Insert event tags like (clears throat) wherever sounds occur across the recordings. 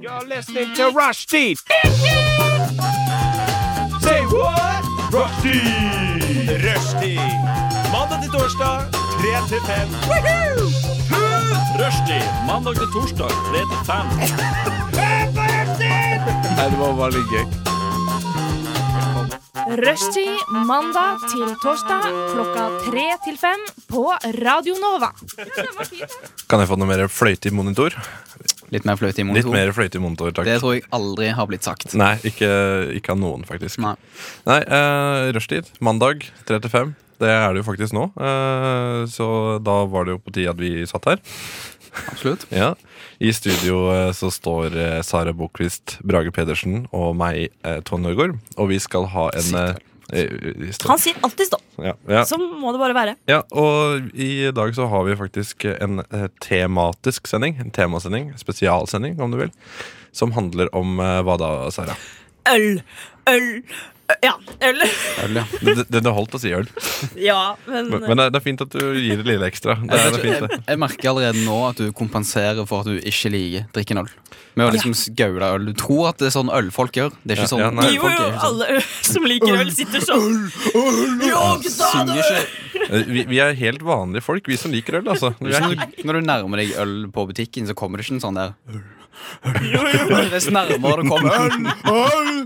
You're listening to Rushdie. Say what? Rushdie. Rushdie. Mandag til torsdag, 3 til 5. Rushdie. Mandag til torsdag, 3 til 5. det var veldig gøy. Rushtid mandag til torsdag klokka tre til fem på Radio Nova. Kan jeg få noe mer fløyte i monitor? Litt mer fløyte i Litt monitor. mer Mm. fløyte i monitor, takk. Det tror jeg aldri har blitt sagt. Nei, ikke, ikke av noen, faktisk. Nei. Nei, eh, rushtid. Mandag 3 til 5. Det er det jo faktisk nå. Eh, så da var det jo på tide at vi satt her. Absolutt. Ja. I studio eh, så står eh, Sara Bokvist, Brage Pedersen og meg, eh, Tone Norgård. Og vi skal ha en eh, eh, stå- Han sier alltid stopp. ja, ja. Sånn må det bare være. Ja, og i dag så har vi faktisk en eh, tematisk sending. En temasending, spesialsending om du vil. Som handler om eh, hva da, Sara? Øl, øl, ø- ja, øl. (laughs) Øl, ja. Det, det, det holdt å si øl. Ja, men, Men det er, det er fint at du gir det lille ekstra. Det er, det er fint, det. Jeg merker allerede nå at du kompenserer for at du ikke liker drikken øl. Med å liksom skaule øl. Du tror at det er sånn ølfolk gjør. Det er ikke Ja, sånn ja, nei. jo, ølfolk jo, er ikke sånn. alle øl som liker øl, sitter sånn. Jo, gutta, Synger ikke (laughs) Vi, vi er helt vanlige folk, vi som liker øl, altså. Vi er, Når du- Når du nærmer deg øl på butikken, så kommer det ikke en sånn der (laughs) Dess nærmere du kommer øl, øl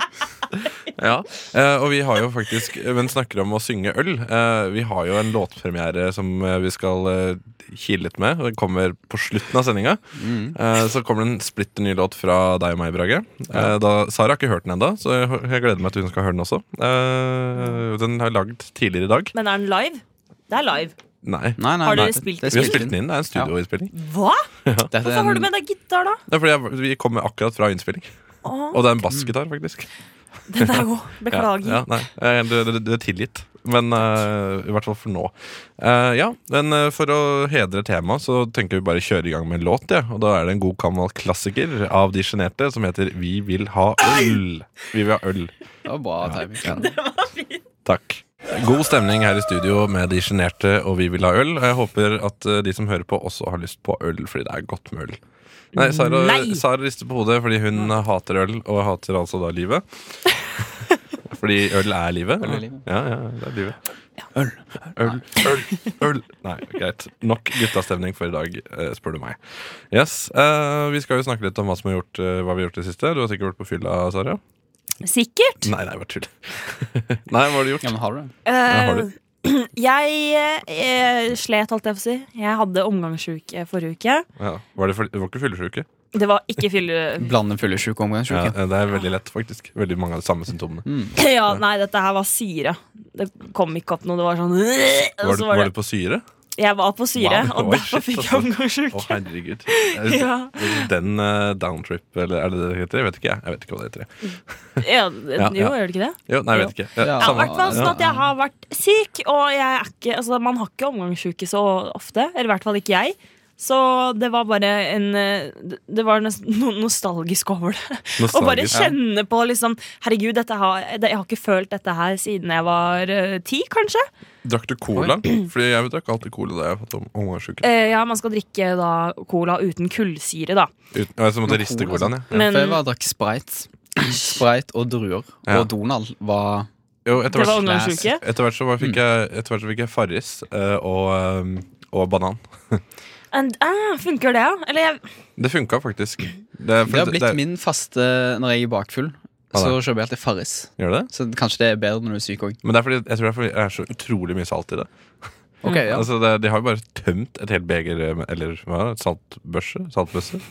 ja. Eh, og vi har jo faktisk Men snakker om å synge øl. eh, vi har jo en låtpremiere som eh, vi skal eh, kile litt med. Den kommer på slutten av sendinga. Mm. Eh, så kommer det en splitter ny låt fra deg og meg, Brage. Eh, da, Sara har ikke hørt den ennå, så jeg, jeg gleder meg til hun skal høre den også. Eh, den har jeg lagd tidligere i dag. Men er den live? Det er live. Nei. Nei, nei, Har dere nei, spilt det er Vi har spilt den inn. Det er en Ja. studioinnspilling. Hva? Dette er Hvorfor har du en- med deg gitar, da? Det er fordi jeg, vi kommer akkurat fra innspilling. Å, Og det er en bassgitar, faktisk. den er god. Ja, Beklager. ja, nei, eh, det, det, det er tilgitt. Men eh, i hvert fall for nå. Eh, ja, men eh, For å hedre temaet så tenker vi bare kjøre i gang med en låt. Ja. Og da er det en god gammel klassiker av de sjenerte som heter Vi vil ha øl. Vi vil ha øl. Det var bra timing. Takk. God stemning her i studio med de sjenerte og Vi vil ha øl. Og jeg håper at eh, de som hører på, også har lyst på øl, fordi det er godt med øl. Nei, Sara, Nei. Sara rister på hodet fordi hun hater øl, og hater altså da (laughs) livet. Fordi øl er livet? Øl er eller? livet. Ja, ja, det er livet. Øl, øl, øl, øl. Nei, greit. Nok guttastemning for i dag, eh, spør du meg. Yes, eh, Vi skal jo snakke litt om hva, som er gjort, eh, hva vi har gjort i det siste. Du har sikkert vært på fylla, Sara? Sikkert. Nei, nei, bare tull. (laughs) nei, hva har du gjort? Ja, men har du det? har Eh, jeg eh, slet, holdt jeg på å si. Jeg hadde omgangssjuke forrige uke. Ja. Var det, for, det var ikke fyllesyke? Det var ikke fylle... Blande fyllesyke og Ja, omgangssjuke. det er veldig lett, faktisk. Veldig mange av de samme symptomene. Mm. (clears throat) Ja, nei, dette her var syre. Det kom ikke opp noe. Det var sånn (clears throat) og Var så du, var var det- du på syre? Jeg var på syre, Wow, og oi, derfor shit, fikk jeg altså. (laughs) Å, omgangssjuke. herregud. Er det- Ja. Den eh, downtrip, eller er det det det heter? Jeg vet ikke, jeg. jeg vet ikke hva det heter. Ja, ja. jo, gjør det ikke det? Jo, nei, jeg vet ikke. Ja, Ja. Ja, i samme. hvert fall sånn at jeg har vært syk, og jeg er ikke, altså, man har ikke omgangssjuke så ofte. Eller i hvert fall ikke jeg. Så det var bare en eh, Det var nesten noe nostalgisk over det. (laughs) Å bare Nostalgisk. kjenne på liksom Herregud, dette har, det, jeg har ikke følt dette her siden jeg var eh, ti, kanskje. Drakk du cola? (clears throat) Fordi jeg drakk alltid cola da jeg hadde fått omgangsuke. Eh, ja, man skal drikke da cola uten kullsyre, da. Uten- og Jeg så måtte Men riste cola, colaen, jeg. Men Før var jeg drakk sprite. Sprite og druer. Ja. Og Donald var Jo, etter det var hvert, omgangsuke. etter hvert så var- Mm. fikk jeg, etter hvert så fikk jeg Farris eh, og, eh, og banan. And, ah, funker det, ja? Eller jeg Det funka faktisk. Det, er- for Det har det- blitt det er- min faste når jeg er bakfull. Ja, Så det. kjøper jeg alltid Farris. Gjør det det? Så kanskje det er bedre når du er syk òg. Men det er fordi, jeg tror det er fordi det er så utrolig mye salt i det. Mm. Ok, ja. Altså, det, de har jo bare tømt et helt beger eh, med- Eller hva er det? Saltbørse? (laughs) (laughs) Saltbøsse?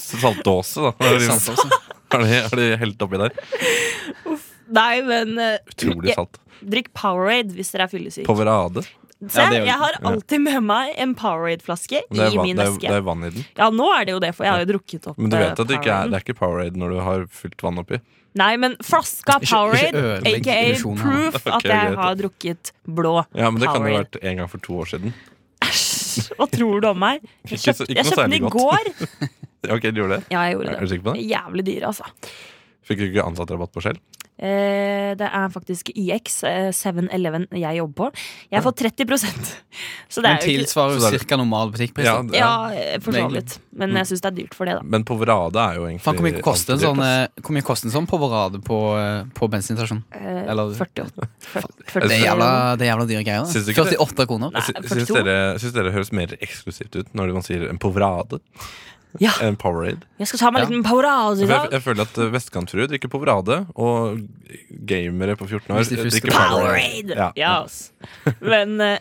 Saltdåse, da. Har de, Sant også. har de, har de helt oppi der. Nei, men eh, Utrolig salt. drikk Powerade hvis dere er fyllesyke. Poverade. Se, Ja, det gjør jeg har Ja. alltid med meg en Powerade-flaske i Det er, vann, min det, er, eske. det er vann i den. Ja, nå er det jo det, for jeg har jo drukket opp Men du eh, vet at det ikke er, Poweraden. det er ikke Powerade når du har fylt vann oppi? Nei, men flaska Ikke- ikke Powerade, ødelegg aka illusjonen her. (laughs) proof Ok, at jeg greit. har drukket blå Ja, men Det kan jo ha (laughs) Powerade. vært en gang for to år siden. Hva tror du om meg? Jeg Ikke så- kjøpte, ikke jeg noe kjøpte den særlig i godt. går. Ok, du gjorde det? Ja, jeg Er (laughs) gjorde du det. sikker på det? Jævlig dyr, altså. Fikk du ikke ansattrabatt på Skjell? Eh, det er faktisk IX, eh, 7-Eleven, jeg jobber på. Jeg får 30 (laughs) Så det Men er jo ikke tilsvarer Så jo det er- ca. normal butikkpris. Ja, da. det- Ja, eh, for så Egentlig. vidt. Men jeg syns det er dyrt for det, da. Men Poverade er jo egentlig Faen, hvor mye koster en sånn, alltid dyrt, eh, hvor mye koster en sånn påvarade på, eh, på bensinstasjon? Eh, Eller- 48. Det er 48 jævla, det er jævla dyre greier. Syns du da. ikke det? 48 kroner. ass. Nei, Jeg sy- Syns 42. dere, syns dere høres mer eksklusivt ut når man sier en Poverade? Ja. En Powerade? Jeg skal ta meg en liten powerade i For jeg, dag. jeg føler at eh, vestkantfruer drikker Poverade, og gamere på 14 år Hvis de først drikker drikker Powerade. Powerade! Ja, ass. Men eh,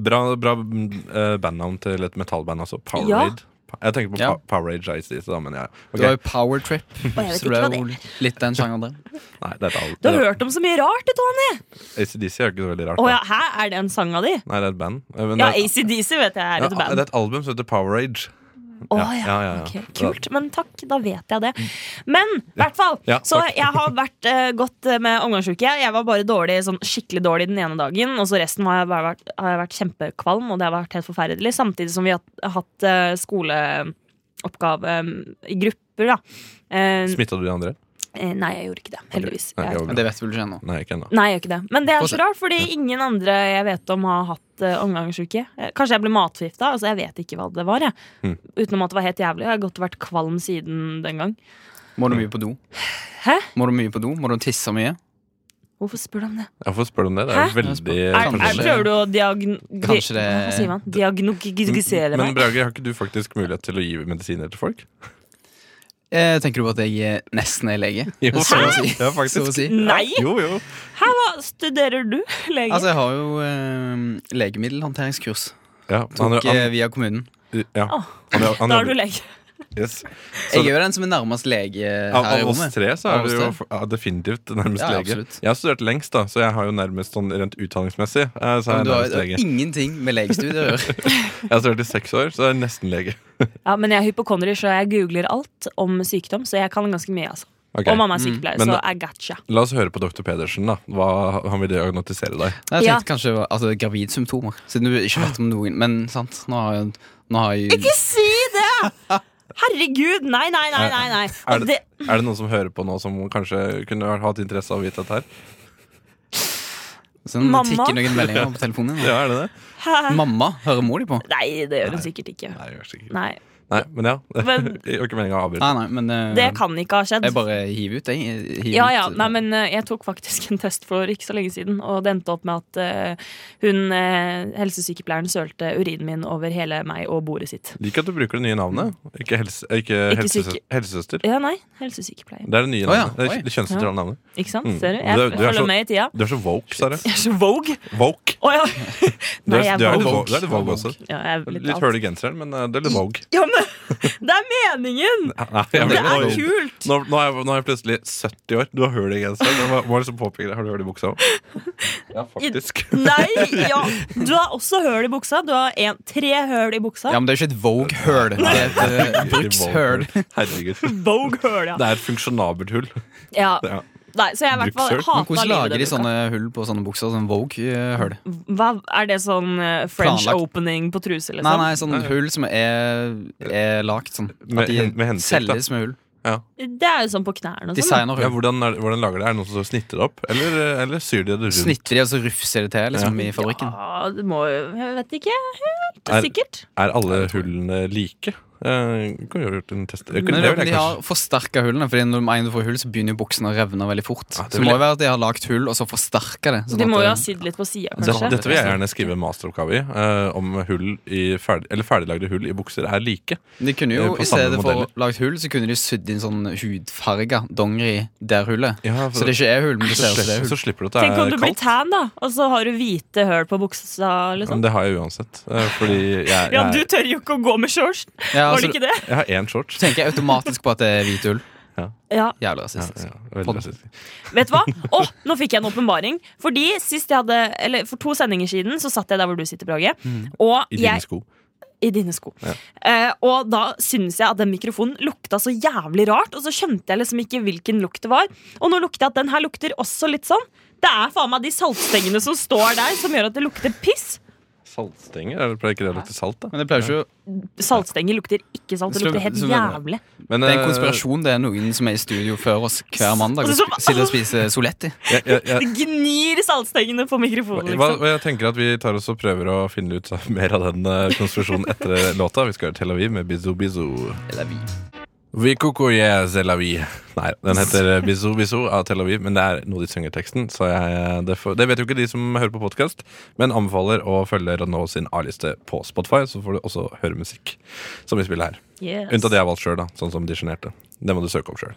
Bra, bra eh, bandnavn til et metallband også. Powerade. Jeg tenker på Ja. pa Powerade Jice Dite, da, men ja. Det var ok. jo Power Trip. jeg vet Så ikke det hva er det jo litt den sjangeren der. Nei, det er et du har all- hørt om så mye rart, du, Tony. ACDC er jo ikke så veldig rart. Å da. ja, hæ? Er det en sang av de? Nei, det er et band. Eh, men Ja, det er- ACDC vet jeg er Ja, et Det band. er et album som heter Power Rage. Å ja, ja, ja, ja, ja. ok, Kult. Men takk, da vet jeg det. Men i hvert fall. Ja, Så takk. jeg har vært eh, godt eh, med omgangsuke. Jeg var bare dårlig, sånn skikkelig dårlig den ene dagen, og så resten har jeg, bare vært, har jeg vært kjempekvalm, og det har vært helt forferdelig. Samtidig som vi har hatt eh, skoleoppgave eh, i grupper, da. Eh, Smitta du de andre? eh, nei, jeg gjorde ikke det. Heldigvis. Nei, Jeg, ikke over. Det vet vel du ikke ennå. Nei, ikke ennå. Nei, jeg gjør ikke det. Men det er Få så se. rart, fordi ingen andre jeg vet om har hatt uh, omgangsuke. Eh, Kanskje jeg ble matforgifta. Altså, jeg vet ikke hva det var. Jeg. Mm. Utenom at det var helt jævlig. og Jeg har godt vært kvalm siden den gang. Må du mye på do? Hæ? Må du mye på do? Må du tisse mye? Hvorfor spør du om det? Hvorfor spør du om det? Det er jo Hæ? veldig Er, er, kanskje- prøver du å diagn... Kanskje det- Hva sier man? Diagnogisere Men meg? Brage, har ikke du faktisk mulighet til å gi medisiner til folk? Eh, tenker du på at jeg eh, nesten er (laughs) lege? Så å si. Ja, (laughs) Så faktisk. å si. Nei! Jo, jo. Hæ, hva studerer du, lege? Altså, jeg har jo eh, legemiddelhåndteringskurs. Ja, han, Tok han, eh, via kommunen. ja. Åh, han, han, da er du lege. yes. Så- Jeg er jo den som er nærmest lege eh, Av, her i av oss rommet. tre så er Av du oss jo tre. f- ja, definitivt nærmest Ja, lege. absolutt. Jeg har studert lengst, da, så jeg har jo nærmest sånn rent utdanningsmessig. eh, Så Men er jeg du har nærmest jo lege. ingenting med legestudiet å gjøre. (laughs) Jeg har studert i seks år, så jeg er nesten lege. Ja, men jeg er hypokondrisk, og jeg googler alt om sykdom, så jeg kan ganske mye, altså. Ok, Mm. Og mamma er sykepleier, Men så da- I gotcha. La oss høre på dr. Pedersen, da. Hva han vil diagnotisere deg. Nei, Jeg Ja. tenkte kanskje altså, gravidsymptomer, siden du ikke vet om noen. Men sant, nå har jeg, nå har jeg Ikke si det! Herregud, nei, nei, nei, nei, nei. Er Og det, Altså, det, er det noen som hører på nå som kanskje kunne ha hatt interesse av å vite dette her? sånn, Mamma? tikker noen meldinger på telefonen. din. (laughs) Ja, er det det? hæ? Mamma hører mor di på. Nei, det gjør hun sikkert ikke. Nei, jeg gjør sikkert. Nei, Nei, men ja. (laughs) Men- det var ikke meninga å avbryte. Nei, nei, men eh, Um, Det kan ikke ha skjedd. jeg bare hiver ut, jeg. jeg. hiver Ja, ja, ut, eh, nei, men eh, Jeg tok faktisk en test for ikke så lenge siden, og det endte opp med at eh, hun, eh, helsesykepleieren sølte urinen min over hele meg og bordet sitt. Liker at du bruker det nye navnet. Ikke, helse, ikke, Ikke helsesø- syke- helsesøster. Ja, nei, helsesykepleier. Det er det nye Å ja, navnet. Det er oi. Det kjønnsnøytrale navnet. Ikke sant? Mm. Ser du? Du er- Jeg du er så- følger med i tida. Du er så woke, Sara. Jeg er så Vogue. Vogue. Å ja! (laughs) Du Nei, er, jeg du er, er litt Vogue. Vogue. Du er litt Vogue også. Ja, jeg er litt Litt alt. høl i genseren, men eh, det er litt Vogue. Ja, men (laughs) det er meningen! (laughs) Nei, jeg Det vet er ikke. kult! Nå, nå, er jeg, nå er jeg plutselig 70 år. Du har høl i genseren. Hva- Hva er det som påpeker det? Har du høl i buksa òg? (laughs) Ja, faktisk. Nei! Ja. Du har også høl i buksa. Du har en, tre høl i buksa. Ja, men det er jo ikke et Vogue-høl. Det er et (laughs) eh, brukshøl. Herregud. Vogue-høl, ja. Det er et funksjonabelt hull. ja. Ja. Nei, så jeg i hvert fall Brukshøl. Men hata hvordan lager de livet sånne hull på sånne bukser? Sånn Liksom? Vogue-høl? Hva, er det sånn eh, French Planlagt. opening på truse, liksom? Nei, nei, sånn hull som er, er lagt sånn. Med At de hen- med hensikt, da. selges med hull. Det er jo sånn på knærne og sånn. Designer Ja, hull. hvordan, er, det- hvordan lager de det? Er det noen som snitter det opp? Eller, eh, eller syr de det rundt? Snitter de, og så rufser de til liksom, i fabrikken. Ja, det må jo Jeg vet ikke. Helt Er- sikkert. Er alle hullene like? Eh, kan vi gjøre en test. Det Men kunne- det, det vil de jeg har kanskje. forsterka hullene, Fordi når en du får hull, så begynner jo buksene å revne veldig fort. Ja, det vil så det må jeg- jo være at de har lagt hull, og så forsterka det. sånn De at må det- jo ha sydd litt på sida, Dette, kanskje. dette vil jeg gjerne skrive en masteroppgave i. eh, om hull i ferdig, eller ferdiglagde hull i bukser er like. De kunne eh, jo, på I samme stedet for å modeller. lagt hull, så kunne de sydd inn sånn hudfarga dongeri der hullet. Ja, for- Så det ikke er hull, men det Så, ser ut som det er slipper, så hull. slipper du at det Tenk om du er blir kaldt. tan, da, og så har du hvite høl på buksa, Men liksom. det har jeg uansett. eh, fordi jeg, jeg, (laughs) Ja, du tør jo ikke å gå med shorts! Ja, Var så det ikke det? jeg har én shorts. tenker jeg automatisk på at det er hvite hull. Ja, Jævlig Ja, rasistisk. ja, veldig Pod- rasistisk. Vet du hva? Å, nå fikk jeg en åpenbaring. Fordi sist jeg hadde, eller For to sendinger siden så satt jeg der hvor du sitter, Brage. Og I dine jeg sko. I dine sko. Eh, og da syns jeg at den mikrofonen lukta så jævlig rart, og så skjønte jeg liksom ikke hvilken lukt det var. Og nå lukter jeg at den her lukter også litt sånn. Det er faen meg de saltstengene som står der, som gjør at det lukter piss. saltstenger? Eller pleier ikke det å lukte salt, da? Men det pleier ikke å Saltstenger lukter ikke salt. Det Slum- lukter helt slum- jævlig. Men, Det er en eh, konspirasjon. Det er noen som er i studio før oss hver mandag og Altså, sp- sitter og spiser Soletti. Jeg, jeg, jeg, Det gnir i saltstengene på mikrofonen. hva, (laughs) Liksom. og jeg tenker at vi tar oss og prøver å finne ut mer av den eh, konspirasjonen etter (laughs) låta. Vi skal til Tel Aviv med Bizou Bizou. Eller vi. Vi koko je Tel Aviv. Nei, den heter Bizou Bizou av Tel Aviv, men det er noe de synger teksten. Så jeg, det, får- det vet jo ikke de som hører på podkast, men anbefaler å følge Renault sin A-liste på Spotify, så får du også høre musikk som vi spiller her. Yes. Unntatt det jeg har valgt sjøl, sånn som de sjenerte. Det må du søke opp sjøl.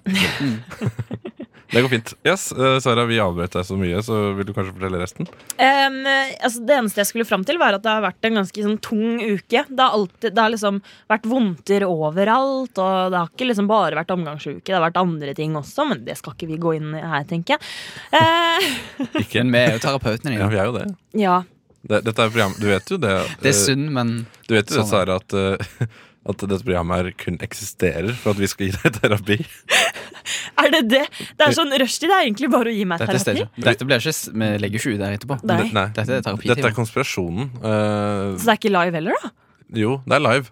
(laughs) det går fint. Yes, eh, Sara, vi avbrøt deg så mye, så vil du kanskje fortelle resten? Em, altså det eneste jeg skulle fram til, var at det har vært en ganske sånn, tung uke. Det har, alltid, det har liksom vært vondter overalt, og det har ikke liksom bare vært omgangsuke. Det har vært andre ting også, men det skal ikke vi gå inn i her, tenker jeg. Eh, (laughs) Ikke? Men vi er jo terapeutene Ja, dine. vi er jo det. ja. det dette er program, du vet jo det. Det er eh, synd, men Du vet jo det, Sånn er Sara, at, eh, at dette programmet her kun eksisterer for at vi skal gi deg terapi. Er det det? Det er sånn rushtid. Det er egentlig bare å gi meg dette, er terapi. stedet. dette blir ikke s- Vi legger ikke ut der etterpå. Nei. Det- Nei. Eh, Dette er Dette er terapitimen. konspirasjonen. Eh, Så det er ikke live heller, da? jo, det er live.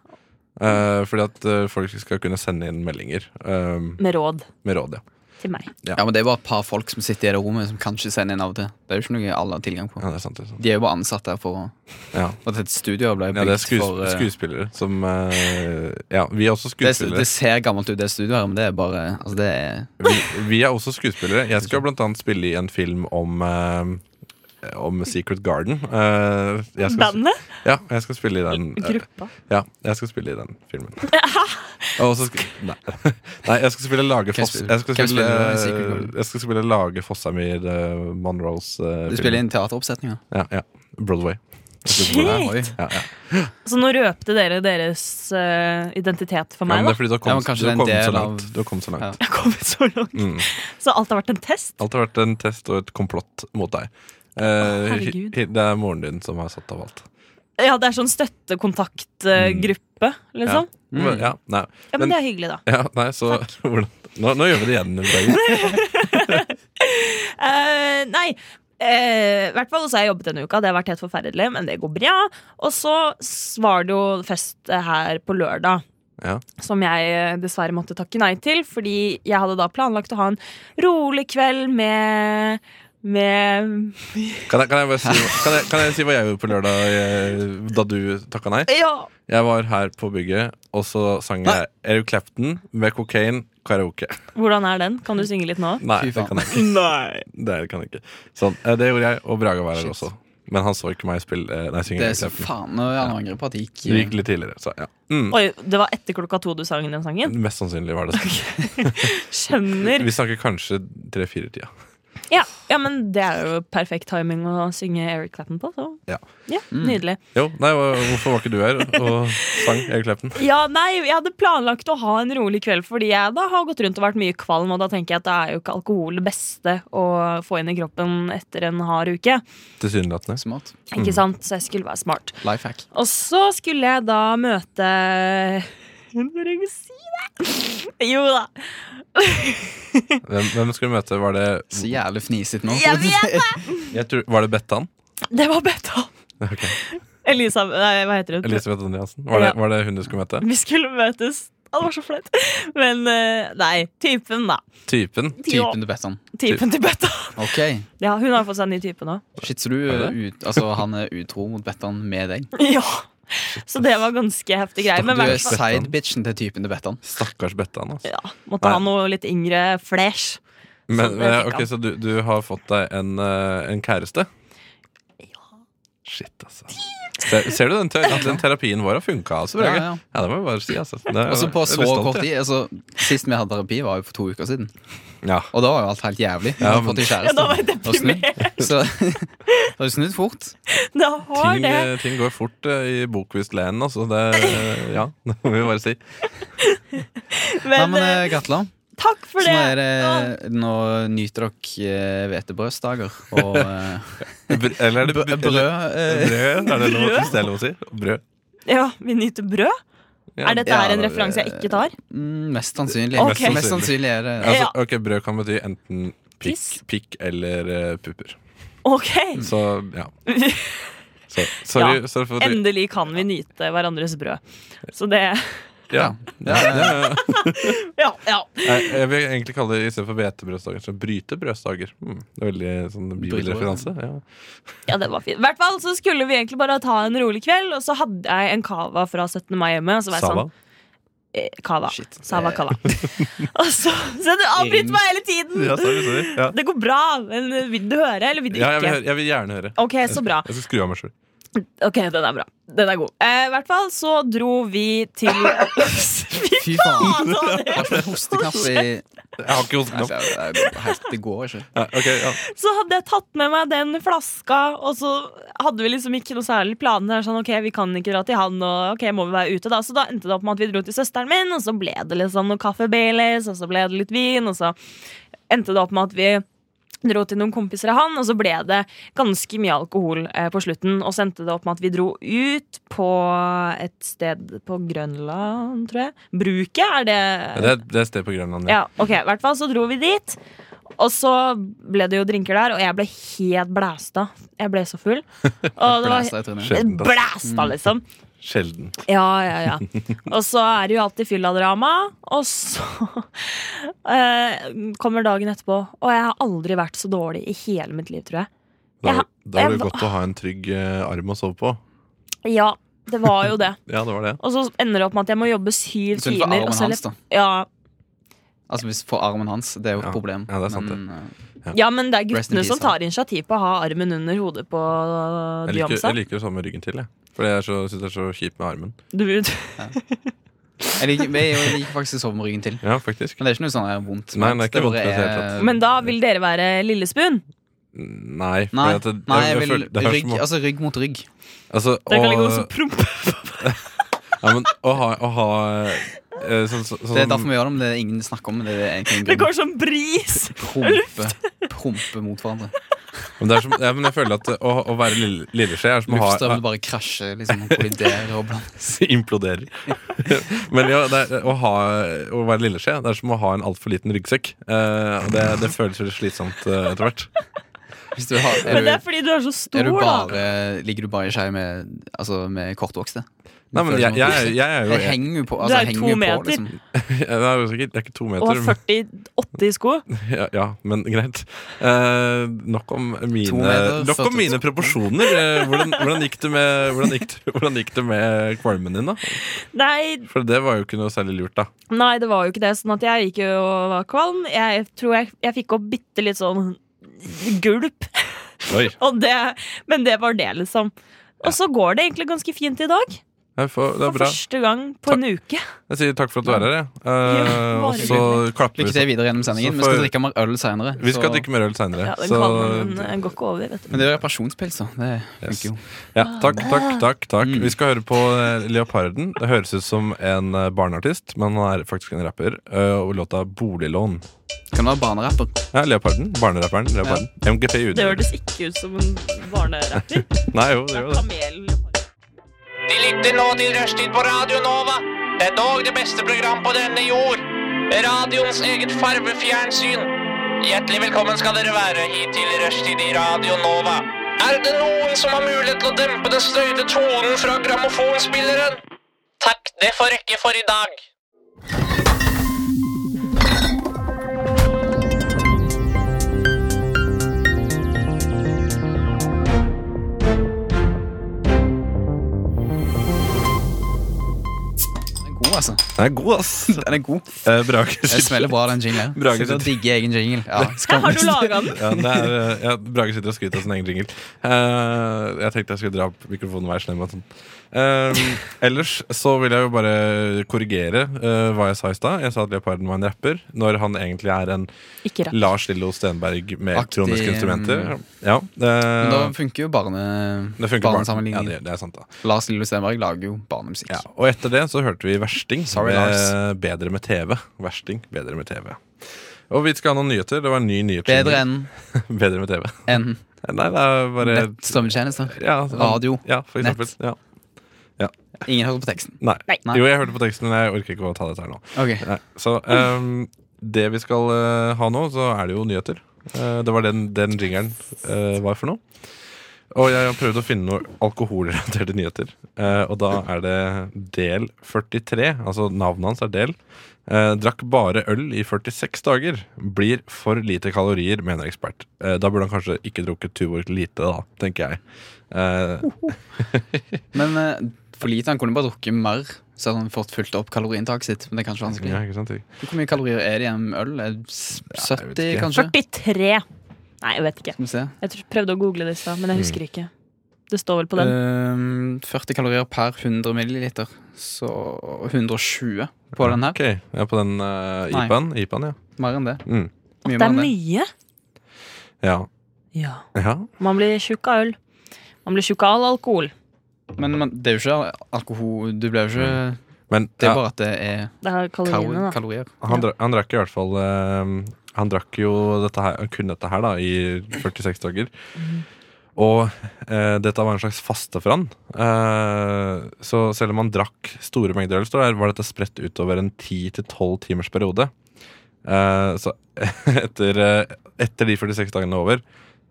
Eh, fordi at eh, folk skal kunne sende inn meldinger eh, Med råd med råd, ja. til meg. Ja, men Det er bare et par folk som sitter i det rommet, som kanskje sender inn av og til. Det er jo ikke noe alle har tilgang på. ja. Det er sant. Det er sant. De er jo bare ansatt der for å Ja. Og dette studioet ble Ja, det er bygd skues for eh, skuespillere som eh, Ja, vi er også det, skuespillere. det ser gammelt ut, det studioet her, men det er bare Altså, det er Vi, vi er også skuespillere. Jeg skal blant annet spille i en film om eh, om Secret Garden. Eh, jeg skal, Bandet? Ja, jeg skal spille i den. eh, Gruppa? Ja, jeg skal spille i den (laughs) filmen. Og så skal, nei. (laughs) nei, jeg skal spille Lage Hvem Foss spiller- Jeg skal hvem spille, eh, spiller i Secret Garden? jeg skal spille Lage Fossheim i eh, Monroes eh, Du film. spiller inn teateroppsetninger. Ja, ja. Broadway. Shit! Ja, oi. Ja, ja. Så nå røpte dere deres eh, identitet for Ja, men meg, det er da. fordi du har Ja, men kommet, du kanskje har kommet det er en så del langt. av- Du har kommet så langt. Jeg har kommet så langt. Mm. Så alt har vært en test. Alt har vært en test og et komplott mot deg. Eh, herregud. hi- det er moren din som har satt av alt. Ja, det er sånn støttekontaktgruppe, liksom. Ja. Mm. Men, ja, nei. men, Men- det er hyggelig, da. Ja, nei, så (laughs) hvordan, nå, nå gjør vi det igjen. (laughs) Dag. Eh, nei, eh, i hvert fall så har jeg jobbet denne uka. Det har vært helt forferdelig, men det går bra. Og så s- var det jo fest her på lørdag. Ja. Som jeg eh, dessverre måtte takke nei til, fordi jeg hadde da planlagt å ha en rolig kveld med med Kan, jeg- kan, jeg bare si, kan, jeg, kan jeg si hva jeg gjorde på lørdag eh, da du takka nei? Ja! Jeg var her på bygget, og så sang jeg Eric Clapton med Cocaine karaoke. Hvordan er den? Kan du synge litt nå? Nei, Fy det faen. kan jeg (laughs) ikke. Nei. Det, kan jeg ikke. Sånn, eh, det gjorde jeg, og Braga var her Shit. også. Men han så ikke meg spille eh, Nei, synge Det er Eric så Clapton. faen Nå er jeg angrer på at jeg Det gikk gikk litt tidligere, så ja. Mm. Oi, det var etter klokka to du sang den sangen? Mest sannsynlig (laughs) var det det. Skjønner. Vi snakker kanskje tre-fire-tida. Ja, ja, men det er jo perfekt timing å synge Eric Clapton på. Så. Ja. Nydelig. Jo, nei, hva- hvorfor var ikke du her og sang Eric Clapton? Ja, nei, Jeg hadde planlagt å ha en rolig kveld fordi jeg da har gått rundt og vært mye kvalm, og da tenker jeg at det er jo ikke alkohol det beste å få inn i kroppen etter en hard uke. Tilsynelatende. eh, Smart. Ikke sant? Så jeg skulle være smart. Life hack. Og så skulle jeg da møte Hun bør ikke si det! Jo da. Hvem, hvem skulle vi møte? Var det, Så jævlig fnisete nå. Jeg vet det! jeg tror, var det Bettan? Det var Betta. Ok. Elisa Nei, hva heter hun? Elisabeth Andreassen? Var det, Ja. var det hun du skulle møte? Vi skulle møtes. Å, Det var så flaut. Men eh, nei, typen, da. Typen? Ja, Typen du bedt om. typen til Betta. Ok. Ja, hun har fått seg en ny type nå. Shit, så du Er er ut, altså, han er utro mot Bettan med deg? (laughs) Ja. Så det var ganske heftig greie. Men Du er hvert fall- sidebitchen til typen til Bettan. Stakkars Bettan. Altså. ja, måtte ha noe litt yngre flesh. Men, det men, ja, fikk ok, han. Så du, du har fått deg en, eh, en kjæreste? Shit, altså. Ser, ser du, den, te at den terapien vår har funka, altså, Brage. Ja, Ja, ja. det må jeg bare si. Altså. Det er- Altså på jeg er så litt stolt, kort jeg. tid altså, Sist vi hadde terapi, var jo for to uker siden. Ja. Og da var jo alt helt jævlig. Vi Ja, har men- fått en Ja, da var kjæreste. jeg Og snudd. deprimert. (laughs) Så (laughs) det har jo snudd fort. Det har Ting, det. eh, ting går fort eh, i Bokvist Land, altså. Det, eh, ja, (laughs) det må vi bare si. Nei, Men men eh, eh, gratulerer. takk for Så det. nå, er eh, Ja. det, nå nyter dere eh, hvetebrødsdager (laughs) og eh, Br eller er det brød. eh, Brød? Er det lov, hvis det er lov å si? Brød. Ja, vi nyter brød. Ja. eh, Er dette Ja, her en det- referanse jeg ikke tar? mm, Mest sannsynlig. Ok. Mest sannsynlig. Mest sannsynlig er det Altså, Ja. ok, Brød kan bety enten pikk, Piss. (laughs) pikk eller eh, pupper. Ok. Så ja. Så, sorry, Ja, sorry for at du- Endelig kan vi nyte hverandres brød. Så det (laughs) ja. Ja, ja, ja. Ja, ja. Jeg, jeg vil egentlig kalle det istedenfor hvetebrødsdager, så bryte brødsdager. Hmm. Det er veldig sånn bibelreferanse. Ja. ja det var fint. I hvert fall så skulle vi egentlig bare ta en rolig kveld, og så hadde jeg en cava fra 17. mai hjemme. Og så var jeg Sava. sånn eh, Cava. Shit. Sava (laughs) cava. (laughs) og så Så du avbryter meg hele tiden! Ja, sorry, sorry. Ja. (laughs) Det går bra. Men eh, vil du høre, eller vil du Ja, jeg, vil, ikke? høre- jeg vil gjerne høre. Ok, så bra. Jeg skal skru av meg sjøl. Ok, den er bra. Den er god. Eh, I hvert fall så dro vi (laughs) til (laughs) Fy Fy faen. faen, Daniel. Har ikke en hosteknapp i Jeg har ikke hosteknapp. Nei, det er helt- Det går ikke. Ja, ok, ja. Så hadde jeg tatt med meg den flaska, og så hadde vi liksom ikke noe særlig planer. Sånn, ok, vi kan ikke dra til han, og ok, må vi være ute da? Så da endte det opp med at vi dro til søsteren min, og så ble det litt sånn noe kaffe Baileys, og så ble det litt vin, og så endte det opp med at vi dro til noen kompiser av han, og så ble det ganske mye alkohol eh, på slutten. Og så endte det opp med at vi dro ut på et sted på Grønland, tror jeg. Bruket, er det Ja, Det, er, det er et sted på Grønland. Ja. ja, ok, i hvert fall så dro vi dit Og så ble det jo drinker der Og jeg ble helt blæsta Jeg ble så (laughs) full Og det var Blæsta i trynet. Sjelden, ass. Blæsta liksom Sjelden. Ja, ja, ja Og så er det jo alltid fylladrama Og så (laughs) eh, Kommer dagen etterpå Og jeg har aldri vært så dårlig i hele mitt liv, tror jeg Da, Jeg- da var det jeg- godt å ha en trygg eh, arm å sove på. Ja, det var jo det Ja, det var det. Og så ender det opp med at jeg må jobbe syv Synd for timer og armen så- hans, da. Ja, Altså hvis For armen hans. Det er jo Ja. et problem. Ja, det er sant, Men, eh, ja men det er Rest in guttene peace, som da. tar initiativ på å ha armen under hodet på eh, Jeg liker, Beyoncé jeg liker å sove med ryggen til. Jeg. For jeg syns det er så kjipt med armen. Du, Jeg liker, jeg, jeg liker faktisk å sove med ryggen til. Ja, faktisk. Men det er ikke noe sånn eh, vondt. Nei, det er ikke vondt bare i det hele tatt. Men da vil dere være Lillespun? Nei. Nei, for at det- nei jeg jeg vil føler- det er rygg, som å- altså, rygg mot rygg. altså, Dere kan å- legge noen som promper. ja, men, å ha, å ha eh, sånn, så, sånn, Det er derfor vi gjør det, men det er ingen snakker om. men Det er egentlig (laughs) en Det grunn. går som bris! Prompe, prompe mot hverandre. men, det er som, ja, men jeg føler at eh, å, å være lille- lilleskje er som å ha Luftstrømmen (laughs) bare krasjer liksom, og kolliderer og blandes. imploderer. (laughs) Men ja, det er, å, ha, å være lilleskje det er som å ha en altfor liten ryggsekk. Eh, og det, det føles veldig slitsomt eh, etter hvert. (laughs) Hvis du har, Men det er, er fordi du er så du, stor, er du da. bare, ligger du bare i skei med, altså, med kortvokste? Nei, men jeg, jeg, er- jeg er jo Det henger jo på. Du Altså, er henger to jo meter. På, liksom. jeg, det, er jo sikkert, det er ikke to Og har meter, 48 i sko. ja, ja, men greit. Eh, nok om mine, To meter, nok om 40. mine proporsjoner. Eh, hvordan, hvordan gikk det med Hvordan gikk det, hvordan gikk det med kvalmen din, da? Nei, For det var jo ikke noe særlig lurt, da. nei, det var jo ikke det. Sånn at jeg gikk jo og var kvalm. Jeg tror jeg, jeg fikk opp bitte litt sånn gulp. (laughs) Oi. Og det, men det var det, liksom. Og så går det egentlig ganske fint i dag. Jeg får, det er For bra. første gang på en uke. Jeg sier takk for at du er her, jeg. Eh, Ja, og så klapper Lykke vi. til videre gjennom sendingen. Så Vi skal får- drikke mer øl seinere. Vi skal drikke mer øl seinere. Ja, den kvalmen den går ikke over, vet du. Men det er reparasjonspils, da. Det funker jo. Mm. Ja, takk, Ah, takk, takk, takk. Vi skal høre på eh, Leoparden. Det høres ut som en eh, barneartist, men han er faktisk en rapper. eh, Og låta 'Boliglån'. Kan du være barnerapper? Ja, Leoparden. Barnerapperen. Leoparden. MGP UD. Det hørtes ikke ut som en barnerapper. (laughs) Nei, jo, det gjør det. Kamel. De lytter nå til Rushtid på Radio Nova. Det er dog det beste program på denne jord. Radioens eget farvefjernsyn. Hjertelig velkommen skal dere være hit til Rushtid i Radio Nova. Er det noen som har mulighet til å dempe den støyte tonen fra grammofonspilleren? Takk, det får rekke for i dag. Den er god, altså. (laughs) Den er god, ass. Den er god. Eh, Brage Jeg sitter- smeller bra, den jinglen. Brage Sitter og sitter- digger egen jingle. Ja, Har du skamløst. laga den? (laughs) ja, det er, eh, ja, Brage sitter og skryter av sin egen jingle. Eh, jeg tenkte jeg skulle dra opp mikrofonen og være slem. og Sånn. Eh, ellers så vil jeg jo bare korrigere eh, hva jeg sa i stad. Jeg sa at Leoparden var en rapper, når han egentlig er en Ikke rapp. Lars Lillo Stenberg med Aktiv- elektroniske instrumenter. Ja, eh, Men da funker jo barne, det funker bare. Ja, barnesammenligningen. det, det er sant, da. Lars Lillo Stenberg lager jo barnemusikk. Ja, og etter det så hørte vi Versting. Sorry, med Lars. Bedre med TV. Versting, bedre med TV. Og vi skal ha noen nyheter. Det var en ny nyhet. Bedre enn Bedre med TV. enn Nei, det er bare nett- strømmetjenester. ja, altså, sånn. radio, Ja, for nett. eksempel. Ja. Ingen hører på teksten. Nei. Nei. Jo, jeg hørte på teksten, men jeg orker ikke å ta dette her nå. Ok, Nei. Så ehm, det vi skal eh, ha nå, så er det jo nyheter. Eh, det var den, den jingeren eh, var for noe. Og jeg har prøvd å finne noen alkoholrelaterte nyheter. Eh, og da er det del 43. Altså navnet hans er del. Eh, drakk bare øl i 46 dager. Blir for lite kalorier, mener ekspert. Eh, da burde han kanskje ikke drukket Tuborg lite, da, tenker jeg. Uh, Eh, Men eh, for lite, han kunne bare drukket mer. Så hadde han fått fulgt opp kaloriinntaket sitt. Men det er kanskje vanskelig. ja, ikke sant? Hvor mye kalorier er det i en øl? Ja, jeg Er det vet 70, ikke. kanskje? 43. Nei, jeg vet ikke. Skal vi se. Jeg tr- prøvde å google det i stad, men jeg Mm. husker ikke. Det står vel på den. Ehm, 40 kalorier per 100 milliliter. Så 120 på den her. Ok, ja, På den eh, Nei. IPA-en? IPA-en, ja. Mer enn det. Mm. Mye Det mer er enn det. mye. ja. Ja. Ja, Man blir tjukk av øl. Man blir tjukk av all alkohol. Men man, det er jo ikke alkohol Du blir jo ikke men Det er ja, bare at det er Det er kaloriene, kalorier. da. kalorier. han, dra, han drakk i hvert fall eh, Han drakk jo dette her, kun dette her da i 46 dager. Og eh, dette var en slags faste for han. Eh, så selv om han drakk store mengder øl, står det her, var dette spredt utover en 10-12 timers periode. Eh, så (laughs) etter, eh, etter de 46 dagene over,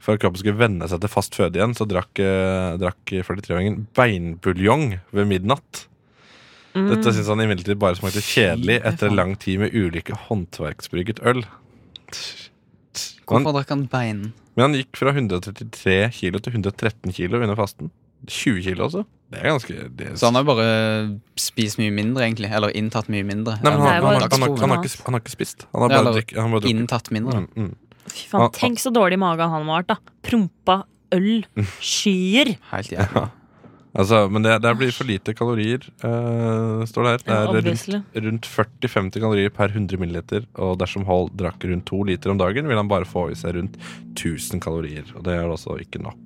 for at kroppen skulle venne seg til fast føde igjen, så drakk, eh, drakk 43-åringen beinbuljong ved midnatt. Mm. Dette syns han imidlertid bare smakte kjedelig Mm. Fy etter faen. lang tid med ulike håndverksbrygget øl. Han, Hvorfor drakk han bein? men han gikk fra 133 kilo til 113 kilo under fasten. 20 kilo, altså. Det er ganske det er, Så han har jo bare spist mye mindre, egentlig. Eller inntatt mye mindre. Nei, men han, Det er han, har- jo bare han, har- han, har mat. ikke, han har ikke spist. Han har Ja, bare eller drikket. Han har bare drukket. inntatt mindre. Mm, mm. Fy Ah, ah. faen, tenk så dårlig mage han må ha vært, da. Prompa øl. Mm. Skyer. Helt jævlig. Altså, men det, det blir for lite kalorier, eh, står det her. Det Ja, er rundt, obviously. rundt 40-50 kalorier per 100 milliliter. Og dersom Hall drakk rundt to liter om dagen, vil han bare få i seg rundt 1000 kalorier. Og det er altså ikke nok.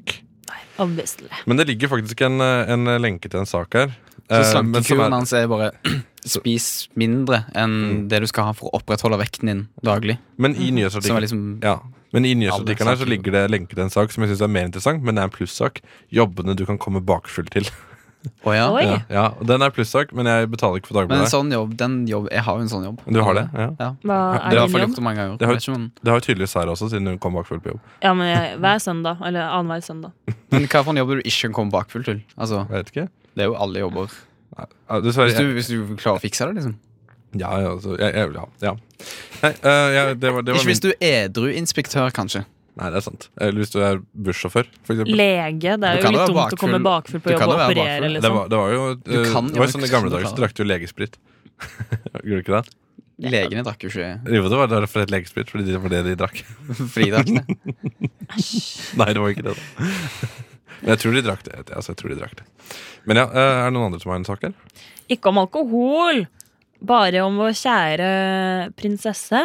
Obviously. Men det ligger faktisk en, eh, en lenke til en sak her. Så eh, men som slankekuren er- hans er bare (clears throat) spis mindre enn Mm. det du skal ha for å opprettholde vekten din daglig. Men i Som er nyhetsartikkelen liksom Ja, men i nyhetsartikkelen her så saker. ligger det lenke til en sak som jeg synes er mer interessant, men det er en plussak. Jobbene du kan komme bakfull til. Å ja. (laughs) Oi. Ja, ja, og Den er plussak, men jeg betaler ikke for Men en Dagbladet. sånn jobb, den jobb Jeg har jo en sånn jobb. Du har det? Ja. Ja. Hva er Det har din jeg i hvert fall jobb? gjort det mange ganger. Det har- Jeg vet ikke, men- Det har jo tydeligvis Sara også, siden hun kom bakfull på jobb. Ja, men jeg, hver søndag, eller annenhver søndag. Men hva for en jobb du ikke kan komme bakfull til? Altså, Jeg vet ikke. det er jo alle jobber. Ja, dessverre. Hvis du, hvis du klarer å fikse det, liksom. Ja, ja, altså, jeg, jeg, ja, ja. Nei, øh, ja, det var, det var Ikke hvis min. du er edru inspektør, kanskje. Nei, det er sant. Eller hvis du er bussjåfør, for eksempel. Lege. Det Du er jo kan jo litt være dumt å komme bakfull bakfull. Du på kan jobb og jo være operere, bakfull. Det liksom. var, det var jo øh, Du det var kan- ja, jo sånn men I gamle sånn dager så klar. drakk du legesprit. (laughs) Gjorde du ikke det? Legene drakk jo ikke Jo, det var derfor det het legesprit, fordi det var det de drakk. (laughs) fridrakk. det. Nei, det var ikke det. da (laughs) Men jeg tror de drakk det. Altså, jeg tror de drakk det. Men ja, øh, er det noen andre som har en sak her? Ikke om alkohol, bare om vår kjære prinsesse.